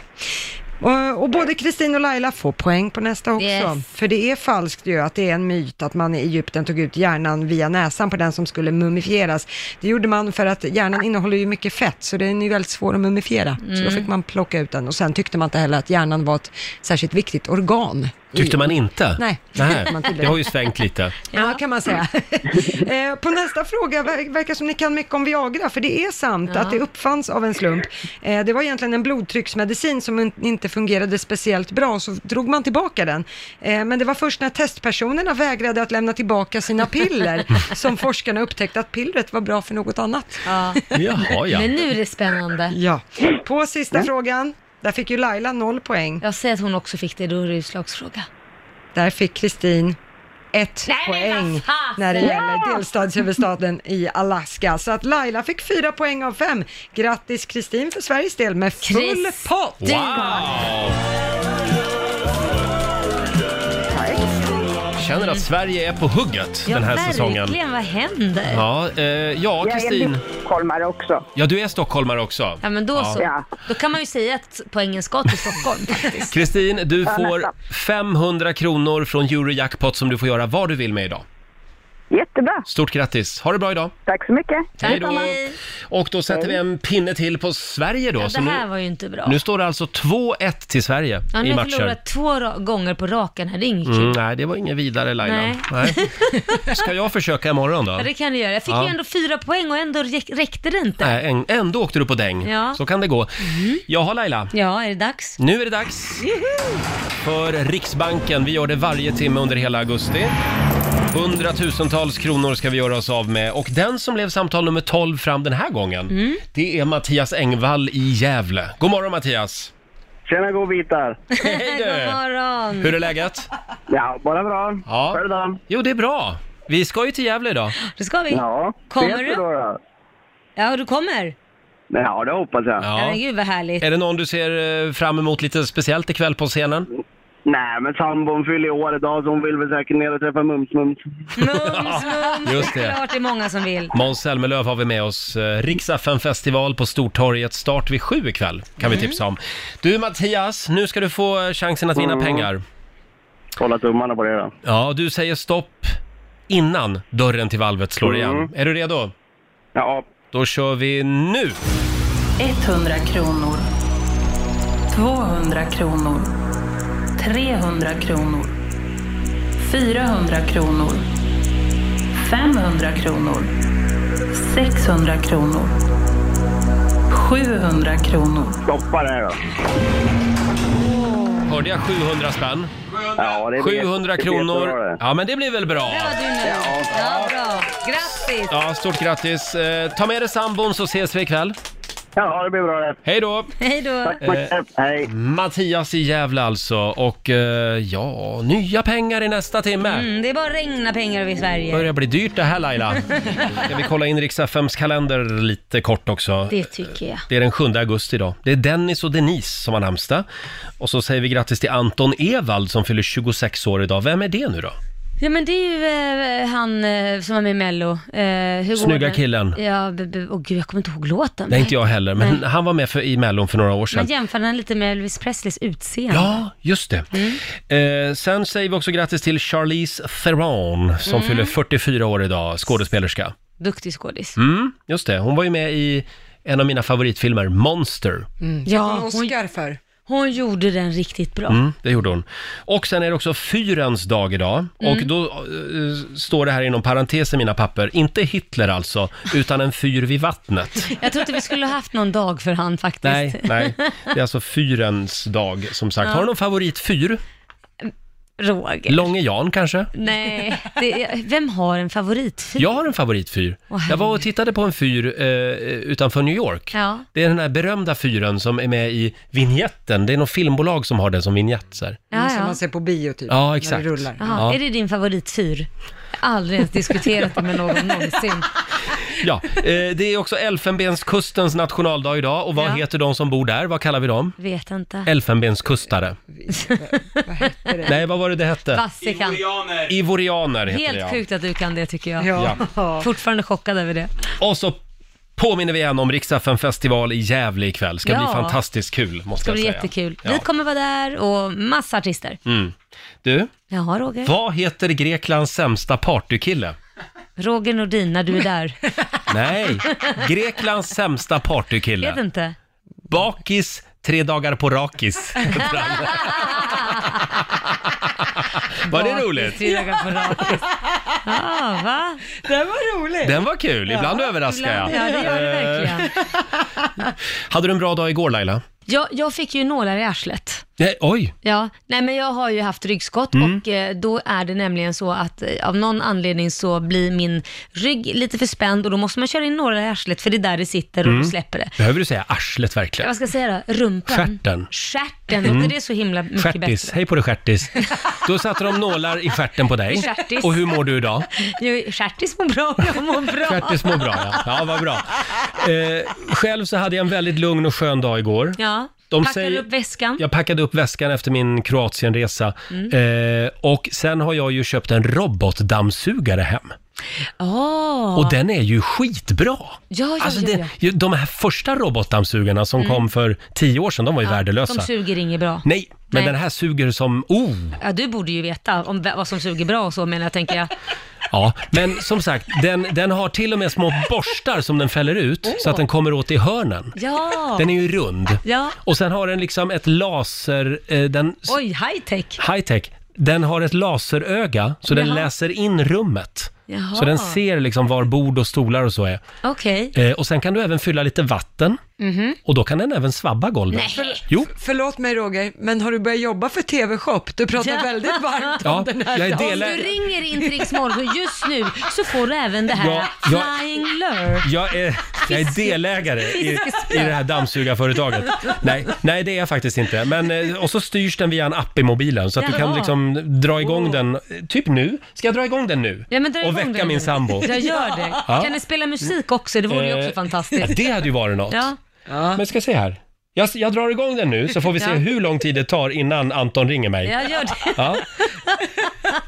S3: Eh, Och, och både Kristin och Laila får poäng på nästa också.
S13: Yes.
S3: För det är falskt ju att det är en myt att man i Egypten tog ut hjärnan via näsan på den som skulle mumifieras. Det gjorde man för att hjärnan innehåller ju mycket fett så den är ju väldigt svår att mumifiera. Så då
S1: Mm.
S3: fick man plocka ut den och sen tyckte man inte heller att hjärnan var ett särskilt viktigt organ.
S1: Tyckte man inte?
S3: Nej.
S1: Nej.
S3: Man tydligen-
S1: Det har ju svängt lite.
S3: Ja, kan man säga. eh, på nästa fråga ver- verkar som ni kan mycket om Viagra, för det är sant
S13: Ja.
S3: att det uppfanns av en slump. Eh, det var egentligen en blodtrycksmedicin som in- inte fungerade speciellt bra, så drog man tillbaka den. Eh, men det var först när testpersonerna vägrade att lämna tillbaka sina piller som forskarna upptäckte att pillret var bra för något annat.
S2: Ja.
S1: Jaha, ja.
S2: Men nu är det spännande.
S3: Ja. På sista frågan, där fick ju Laila noll poäng.
S2: Jag säger att hon också fick det, då är det utslagsfråga.
S3: Där fick Kristin ett poäng när det
S2: Ja!
S3: gäller delstatshuvudstaden i Alaska. Så att Laila fick fyra poäng av fem. Grattis Kristin för Sveriges del med full pott!
S1: Wow! kul att Sverige är på hugget den här säsongen.
S2: verkligen. Vad händer?
S1: Ja, eh, ja
S2: Jag
S1: Kristin.
S2: är stockholmare också.
S1: Ja, du är stockholmare också.
S2: Ja, men då
S1: Ja.
S2: så. Då kan man ju säga att poängen ska till Stockholm faktiskt.
S1: Kristin, du
S2: Ja,
S1: får
S2: nästan.
S1: 500 kronor från Eurojackpot som du får göra vad du vill med idag.
S12: Jättebra.
S1: Stort grattis! Ha det bra idag!
S12: Tack så mycket.
S1: Hej då! Och då sätter vi en pinne till på Sverige då.
S2: Ja,
S1: så
S2: det här
S1: nu,
S2: var ju inte bra.
S1: nu står det alltså 2-1 till Sverige
S2: Ja, nu
S1: i
S2: har jag
S1: matcher.
S2: förlorat två ra- gånger på raken här, det är inget kul.
S1: Mm, nej, det var ingen vidare Laila. Nej.
S2: Nej.
S1: Ska jag försöka imorgon då?
S2: Ja, det kan du göra. Jag fick
S1: Ja.
S2: ju ändå fyra poäng och ändå räck- räckte det inte.
S1: Nej, en- ändå åkte du på däng.
S2: Ja. Mm.
S1: Så kan det gå. Jaha Laila,
S2: Ja, är det dags?
S1: nu är det dags för Riksbanken. Vi gör det varje timme under hela augusti. Hundratusentals kronor ska vi göra oss av med och den som blev samtal nummer 12 fram den här gången,
S2: Mm.
S1: det är Mattias Engvall i Gävle. God morgon Mattias!
S13: Tjena godbitar!
S1: Hej
S2: God morgon!
S1: Hur är läget?
S13: Ja, bara bra.
S1: Ja.
S13: Själv då?
S1: Jo, det är bra. Vi ska ju till Gävle idag.
S2: Det ska vi.
S13: Ja,
S2: kommer
S13: vet
S2: du?
S13: Då då?
S2: Ja, du kommer?
S13: Ja, det hoppas jag.
S2: Ja. men gud vad härligt.
S1: Är det någon du ser eh, fram emot lite speciellt ikväll på scenen?
S13: Nej, men sambon fyller år idag så hon vill väl säkert ner och träffa Mums-Mums.
S2: Mums, mums,
S1: Just
S2: det
S1: det.
S2: är klart det är många som vill.
S1: Måns Zelmerlöw har vi med oss. Eh, Riksdagen festival på Stortorget, start vid sju ikväll, kan vi
S2: Mm.
S1: tipsa om. Du Mattias, nu ska du få eh, chansen att vinna
S13: Mm.
S1: pengar.
S13: Kolla tummarna på det då.
S1: Ja, du säger stopp innan dörren till valvet slår
S13: Mm.
S1: igen. Är du redo?
S13: Ja.
S1: Då kör vi nu!
S8: 100 kronor. 200 kronor. 300 kronor. 400 kronor. 500 kronor. 600 kronor. 700 kronor.
S13: Stoppa det här då.
S1: Hörde jag 700 spänn?
S13: Ja, det blir-
S1: 700
S13: det blir jättebra
S1: kronor.
S13: det.
S1: Ja, men det blir väl bra.
S2: Där var du nöjd. Ja, bra. Grattis!
S1: Ja, stort grattis. Eh, Ta med dig sambon så ses vi ikväll.
S13: Ja, det blir bra det.
S1: Hej då!
S2: Hej då!
S1: Eh, Mattias i Gävle alltså och eh, ja, nya pengar i nästa timme.
S2: Mm, det är bara att regna pengar över
S1: Det
S2: Sverige.
S1: börjar bli dyrt det här Laila. Ska vi kolla in riks FMs kalender lite kort också.
S2: Det tycker jag.
S1: Det är den 7 augusti idag. Det är Dennis och Denise som har namnsdag. Och så säger vi grattis till Anton Ewald som fyller 26 år idag. Vem är det nu då?
S2: Ja men det är ju eh, han eh, som var med i Mello. Eh, hur går
S1: Snygga
S2: den?
S1: killen.
S2: Ja, b- b- åh gud jag kommer inte ihåg låten.
S1: Nej, inte jag heller, men han var med för, i Mellon för några år sedan.
S2: Man jämför den lite med Elvis Presleys utseende.
S1: Ja, just det.
S2: Mm.
S1: Eh, sen säger vi också grattis till Charlize Theron som
S2: Mm.
S1: fyller 44 år idag, skådespelerska.
S2: Duktig skådis.
S1: Mm, just det. Hon var ju med i en av mina favoritfilmer, Monster.
S2: Mm. Ja,
S3: hon Oscar för.
S2: Hon gjorde den riktigt bra.
S1: Mm, det gjorde hon. Och sen är det också fyrens dag idag.
S2: Mm.
S1: Och då eh, står det här inom parentes i mina papper, inte Hitler alltså, utan en fyr vid vattnet.
S2: Jag tror inte vi skulle ha haft någon dag för han faktiskt.
S1: Nej, nej. Det är alltså fyrens dag, som sagt.
S2: Ja.
S1: Har du någon favoritfyr?
S2: Roger.
S1: Långe Jan kanske?
S2: Nej, det, vem har en favoritfilm?
S1: Jag har en favoritfyr.
S2: Åh,
S1: jag var och tittade på en fyr eh, utanför New York.
S2: Ja.
S1: Det är den här berömda fyren som är med i vignetten. Det är något filmbolag som har den som vignett. Så här.
S2: Ja,
S3: Mm, Som
S2: ja.
S3: man ser på bio typ.
S1: Ja, exakt.
S3: När det rullar.
S2: Jaha,
S1: Ja.
S2: Är det din favoritfyr? Jag har aldrig ens diskuterat det med någon någonsin.
S1: Ja, eh, det är också Elfenbenskustens nationaldag idag. Och vad
S2: Ja.
S1: heter de som bor där? Vad kallar vi dem?
S2: Vet inte.
S1: Eh. Elfenbenskustare.
S2: Vad hette det?
S1: Nej, vad var det det hette?
S2: Vassikan.
S1: Ivorianer heter det,
S2: Helt
S1: ja.
S2: sjukt att du kan det tycker jag.
S1: Ja.
S2: Fortfarande chockad över det.
S1: Och så påminner vi igen om Riksdagen festival i Gävle ikväll. Ska bli
S2: Ja.
S1: fantastiskt kul,
S2: Det
S1: måste
S2: ska
S1: jag
S2: bli
S1: säga.
S2: jättekul.
S1: Ja.
S2: Vi kommer vara där och massa artister.
S1: Mm. Du,
S2: Jaha Roger.
S1: vad heter Greklands sämsta partykille?
S2: Roger Nordin när du är där.
S1: Nej, Greklands sämsta
S2: Vet
S1: partykille.
S2: inte.
S1: Bakis, tre dagar på rakis. Var det
S2: Bakis,
S1: roligt?
S2: Tre dagar på raken. Ja, va?
S3: Den var rolig.
S1: Den var kul, ibland överraskar jag.
S2: Ibland- Ja, det gör det
S1: Eh,
S2: verkligen.
S1: Hade du en bra dag igår Laila?
S2: Jag, jag fick ju nålar i arslet.
S1: Nej, oj!
S2: Ja, nej men jag har ju haft ryggskott
S1: Mm.
S2: och eh, då är det nämligen så att eh, av någon anledning så blir min rygg lite för spänd och då måste man köra in nålar i arslet för det är där det sitter och
S1: Mm.
S2: då släpper det.
S1: Behöver du säga arslet
S2: Ja,
S1: verkligen?
S2: Vad ska jag säga då? Rumpan?
S1: Stjärten.
S2: Stjärten,
S1: Mm.
S2: låter det så himla mycket
S1: Stjärtis,
S2: bättre?
S1: hej på dig stjärtis. Då satte de nålar i stjärten på dig.
S2: I stjärtis.
S1: Och hur mår du idag?
S2: Jo, Stjärtis mår bra, jag mår bra.
S1: Stjärtis mår bra ja. Ja, vad bra. Eh, själv så hade jag en väldigt lugn och skön dag igår.
S2: Ja.
S1: De
S2: Packar
S1: säger-
S2: upp väskan.
S1: Jag packade upp väskan efter min Kroatienresa.
S2: Mm.
S1: Eh, och sen har jag ju köpt en robotdammsugare hem.
S2: Åh.
S1: Och den är ju skitbra!
S2: Ah. Ja, ja,
S1: Alltså
S2: ja,
S1: det,
S2: ja.
S1: ju- de här första robotdammsugarna som
S2: Mm.
S1: kom för tio år sedan, de var ju
S2: Ja,
S1: värdelösa.
S2: De suger inget bra.
S1: alltså. Nej, men
S2: Nej.
S1: den här suger som... Oh!
S2: Ja, du borde ju veta om v- vad som suger bra och så menar jag, tänker jag.
S1: Ja, men som sagt, den, den har till och med små borstar som den fäller ut så att den kommer åt i hörnen.
S2: Ja.
S1: Den är ju rund.
S2: Ja.
S1: Och sen har den liksom ett laser... Eh, den,
S2: Oj, high tech.
S1: high tech. Den har ett laseröga så den
S2: Jaha.
S1: läser in rummet.
S2: Jaha.
S1: Så den ser liksom var bord och stolar och så är.
S2: Okej.
S1: Eh, och sen kan du även fylla lite vatten
S3: Mhm.
S1: och då kan den även svabba golvet. Jo.
S3: Förlåt mig Roger, men har du börjat jobba för TV-shop? Du pratar
S2: Ja.
S3: väldigt varmt
S1: Ja,
S3: om den här.
S1: jag är
S2: Om
S1: delägare.
S2: du ringer in till Rix Morgon just nu så får du även det här
S1: Ja, jag-
S2: Flying Lure.
S1: Jag är, jag är delägare i, i det här dammsugarföretaget. Nej, nej, det är jag faktiskt inte. Men, eh, och så styrs den via en app i mobilen så att du kan
S2: Jaha.
S1: liksom dra igång den, eh, typ nu. Ska jag dra igång den nu?
S2: Ja, men dra igång
S1: och väcka
S2: den.
S1: min sambo?
S2: Jag gör det.
S1: Ja.
S2: Kan ni spela musik också? Det vore ju också
S1: Eh,
S2: fantastiskt.
S1: ja, Det hade ju varit något.
S2: Ja.
S1: Men ska se här. Jag, jag drar igång den nu så får vi se
S2: Ja.
S1: hur lång tid det tar innan Anton ringer mig.
S2: Jag gör det.
S1: Ja.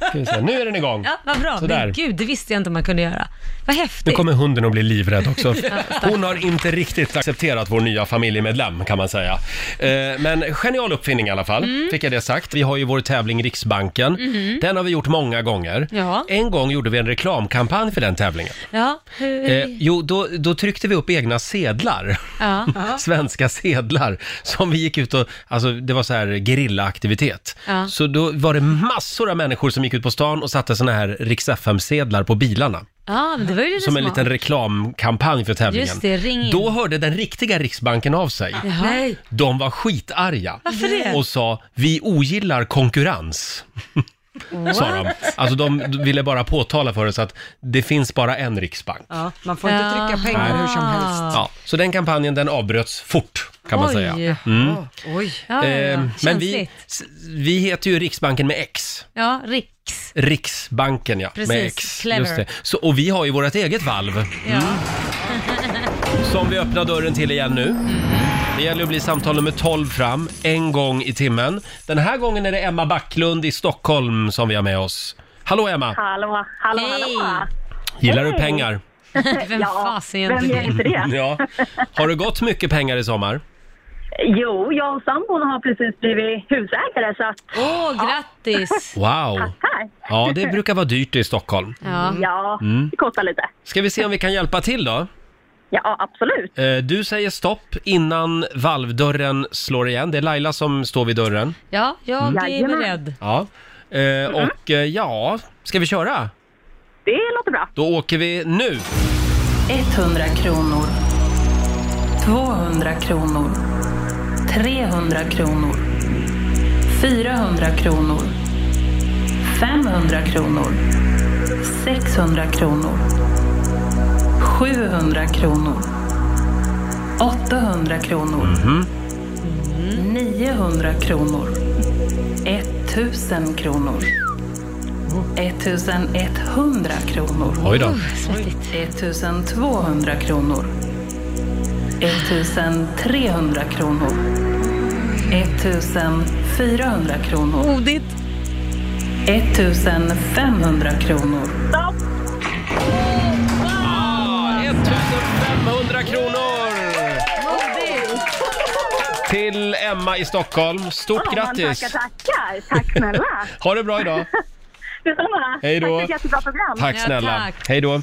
S1: Ska vi se. Nu är den igång.
S2: Ja, vad bra.
S1: Sådär.
S2: Men gud, det visste jag inte man kunde göra. Vad
S1: Nu
S2: häftigt.
S1: kommer hunden att bli livrädd också.
S2: Ja,
S1: Hon har inte riktigt accepterat vår nya familjemedlem kan man säga. Eh, Men genial uppfinning i alla fall,
S2: Mm.
S1: fick jag det sagt. Vi har ju vår tävling Riksbanken.
S2: Mhm.
S1: Den har vi gjort många gånger.
S2: Ja.
S1: En gång gjorde vi en reklamkampanj för den tävlingen.
S2: Ja, hur...
S1: Eh, jo, då, då tryckte vi upp egna sedlar.
S2: Ja.
S1: Svenska sedlar som vi gick ut och, alltså det var så här gerillaaktivitet.
S2: Ja.
S1: Så då var det massor av människor som gick ut på stan och satte såna här Rix FM-sedlar på bilarna.
S2: ja, men det var ju lite
S1: Som en
S2: smart.
S1: liten reklamkampanj för tävlingen.
S2: Just det, ring in.
S1: Då hörde den riktiga Riksbanken av sig.
S2: Jaha. Nej.
S1: De var skitarga.
S2: Varför det?
S1: Och sa, vi ogillar konkurrens. Sa de. Alltså de ville bara påtala för oss att det finns bara en riksbank.
S3: Ja, man får inte
S2: Jaha.
S3: trycka pengar hur som helst.
S1: Ja, så den kampanjen den avbröts fort kan man
S3: Oj.
S1: säga. Mm.
S3: Oj.
S2: Ja, ja, ja.
S1: Eh, Men vi,
S2: Känsligt.
S1: s- vi heter ju Riksbanken med X.
S2: Ja, Rick.
S1: Riksbanken ja, med
S2: Precis,
S1: X.
S2: clever.
S1: Just det. Så, och vi har ju vårt eget valv. Mm. Som vi öppnar dörren till igen nu. Det gäller att bli samtal nummer 12 fram, en gång i timmen. Den här gången är det Emma Backlund i Stockholm som vi har med oss. Hallå Emma!
S11: Hallå, hallå, hallå.
S1: Gillar du
S11: Hej.
S1: pengar?
S2: Vem fasen gör
S11: vem
S2: inte
S11: gör inte det?
S1: Ja. Har du gått mycket pengar i sommar?
S11: Jo, jag och sambon har precis blivit husägare så att...
S2: Åh, grattis!
S1: Wow!
S11: Tackar!
S1: Ja, det brukar vara dyrt i Stockholm.
S11: Ja,
S1: Mm.
S11: det kostar lite.
S1: Ska vi se om vi kan hjälpa till då?
S11: Ja, absolut.
S1: Eh, Du säger stopp innan valvdörren slår igen. Det är Laila som står vid dörren.
S2: Ja, jag
S11: Mm.
S2: är
S11: Jajamän.
S2: beredd.
S1: Ja. Eh, Och eh, ja, ska vi köra?
S11: Det låter bra.
S1: Då åker vi nu!
S8: 100 kronor. 200 kronor. 300 kronor. 400 kronor. 500 kronor. 600 kronor. 700 kronor. 800 kronor. 900 kronor. 1000 kronor. 1100 kronor.
S1: Oj då.
S8: 1200 kronor. 1300 kronor. 1400 kronor.
S2: Modigt.
S8: 1500 kronor.
S1: 500 kronor! Till Emma i Stockholm. Stort
S11: Ja, men
S1: grattis!
S11: Tackar, tackar. Tack snälla.
S1: Ha det bra idag!
S11: Detsamma.
S1: Hej då.
S11: Tack för ett jättebra program.
S1: Tack snälla! Hej då!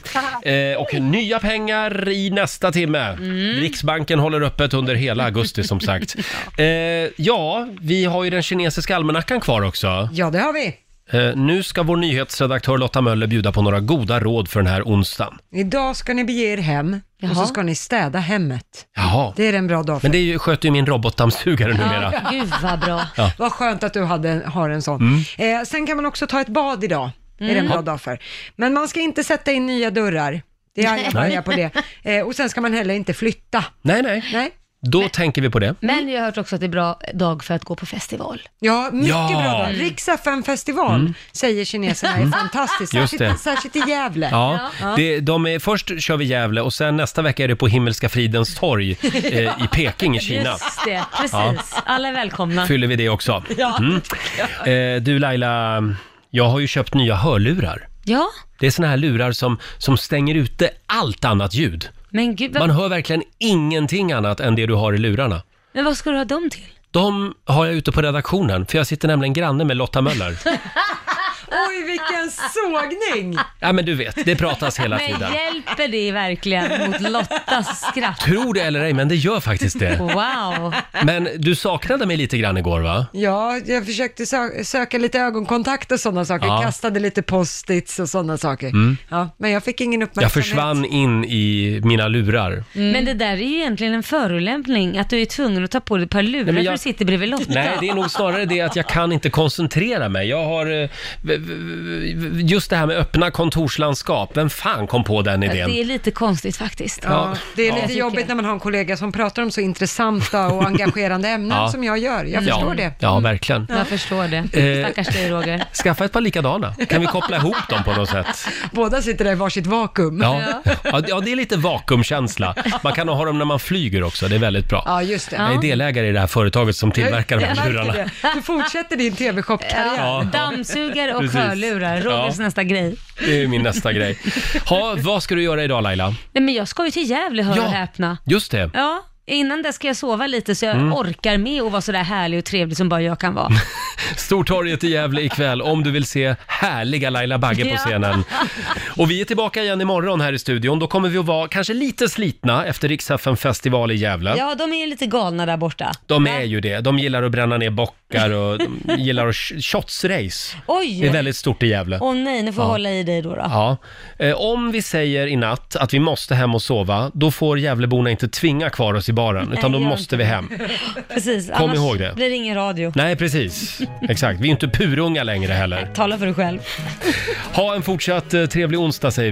S1: Eh, och nya pengar i nästa timme. Riksbanken håller öppet under hela augusti som sagt. Eh, ja, vi har ju den kinesiska almanackan kvar också.
S3: Ja, det har vi.
S1: Eh, nu ska vår nyhetsredaktör Lotta Möller bjuda på några goda råd för den här onsdagen.
S3: Idag ska ni bege er hem och så ska ni städa hemmet.
S1: Jaha.
S3: Det är en bra dag för
S1: Men det är ju, sköter ju min robotdammsugare numera.
S3: Ja,
S2: gud vad bra.
S1: Ja.
S3: Vad skönt att du hade, har en sån.
S1: Mm.
S3: Eh, sen kan man också ta ett bad idag. Det är det en bra
S2: Mm.
S3: dag för. Men man ska inte sätta in nya dörrar. Det är jag
S1: Nej.
S3: arga på det. Eh, och sen ska man heller inte flytta.
S1: Nej, nej.
S3: Nej.
S1: Då tänker vi på det.
S2: Men jag har hört också att det är bra dag för att gå på festival.
S3: Ja, mycket
S1: Ja.
S3: bra dag.
S1: Mm.
S3: Riks FN-festival
S1: Mm.
S3: säger kineserna är
S1: Mm.
S3: fantastiskt,
S1: Just
S3: särskilt,
S1: det.
S3: särskilt i Gävle.
S1: Ja, Det, de är, först kör vi Gävle och sen nästa vecka är det på Himmelska fridens torg eh, i Peking i Kina.
S2: Just det, precis.
S1: Ja.
S2: Alla är välkomna.
S1: Fyller vi det också.
S2: Ja.
S1: Mm. Eh, du Laila, jag har ju köpt nya hörlurar.
S2: Ja,
S1: Det är såna här lurar som, som stänger ute allt annat ljud.
S2: men gud, vad,
S1: Man hör verkligen ingenting annat än det du har i lurarna.
S2: men vad ska du ha dem till?
S1: De har jag ute på redaktionen, för jag sitter nämligen granne med Lotta Möller.
S3: Oj, vilken sågning!
S1: Ja, men du vet, det pratas hela tiden.
S2: Men hjälper det verkligen mot Lottas skratt?
S1: Tror det eller ej, men det gör faktiskt det.
S2: Wow.
S1: Men du saknade mig lite grann igår, va?
S3: Ja, jag försökte sö- söka lite ögonkontakt och sådana saker,
S1: Ja.
S3: kastade lite post-its och sådana saker.
S1: Mm.
S3: Ja, men jag fick ingen
S1: Jag
S3: uppmärksamhet.
S1: försvann in i mina lurar.
S2: Men det där är ju egentligen en förolämpning, att du är tvungen att ta på dig ett par lurar
S1: men
S2: när
S1: jag-
S2: du sitter bredvid Lotta.
S1: Nej, det är nog snarare det att jag kan inte koncentrera mig. Jag har... eh, v- v- v- Just det här med öppna kontorslandskap. Vem fan kom på den idén?
S2: Det är lite konstigt faktiskt.
S1: Ja,
S3: Det är
S1: Ja.
S3: lite jobbigt när man har en kollega som pratar om så intressanta och engagerande ämnen
S1: Ja.
S3: som jag gör. Jag
S1: Ja.
S3: förstår det. Mm.
S1: Ja, verkligen.
S2: Jag förstår det.
S1: Eh.
S2: Stackars dig Roger.
S1: Skaffa ett par likadana. Kan vi koppla ihop dem på något sätt?
S3: Båda sitter där i varsitt vakuum.
S1: Ja, ja. ja det är lite vakuumkänsla. Man kan ha dem när man flyger också, det är väldigt bra.
S3: Ja, just det.
S1: Jag är delägare i det här företaget som tillverkar de
S3: Jag märker
S1: här lurarna.
S3: det. Du fortsätter din TV-shop-karriär.
S1: Ja.
S2: Dammsugare och
S1: Precis.
S2: hörlurar, Rogers
S1: Ja.
S2: nästa grej.
S1: Det är min nästa grej. Ha, vad ska du göra idag Laila?
S2: Nej men jag ska ju till Gävle, hör och häpna.
S1: Just det.
S2: Ja, innan det ska jag sova lite så jag
S1: Mm.
S2: orkar med att vara sådär härlig och trevlig som bara jag kan vara.
S1: Stortorget i Gävle ikväll om du vill se härliga Laila Bagge på
S2: Ja.
S1: scenen. Och vi är tillbaka igen imorgon här i studion. Då kommer vi att vara kanske lite slitna efter Riksfn festival i Gävle.
S2: Ja, de är ju lite galna där borta.
S1: De är ju det. De gillar att bränna ner bockar och de gillar att sh- shotsrace.
S2: Oj!
S1: Det är väldigt stort i Gävle.
S2: Åh nej, nu får jag
S1: Ja.
S2: hålla i dig då. då.
S1: Ja. Eh, Om vi säger i natt att vi måste hem och sova, då får Gävleborna inte tvinga kvar oss i baren, utan då
S2: gör
S1: måste
S2: inte
S1: vi
S2: det.
S1: hem.
S2: Precis,
S1: Kom
S2: annars
S1: ihåg det.
S2: blir det ingen radio.
S1: Nej, precis. Exakt. Vi är inte purunga längre heller.
S2: Tala för dig själv.
S1: Ha en fortsatt eh, trevlig onsdag säger vi.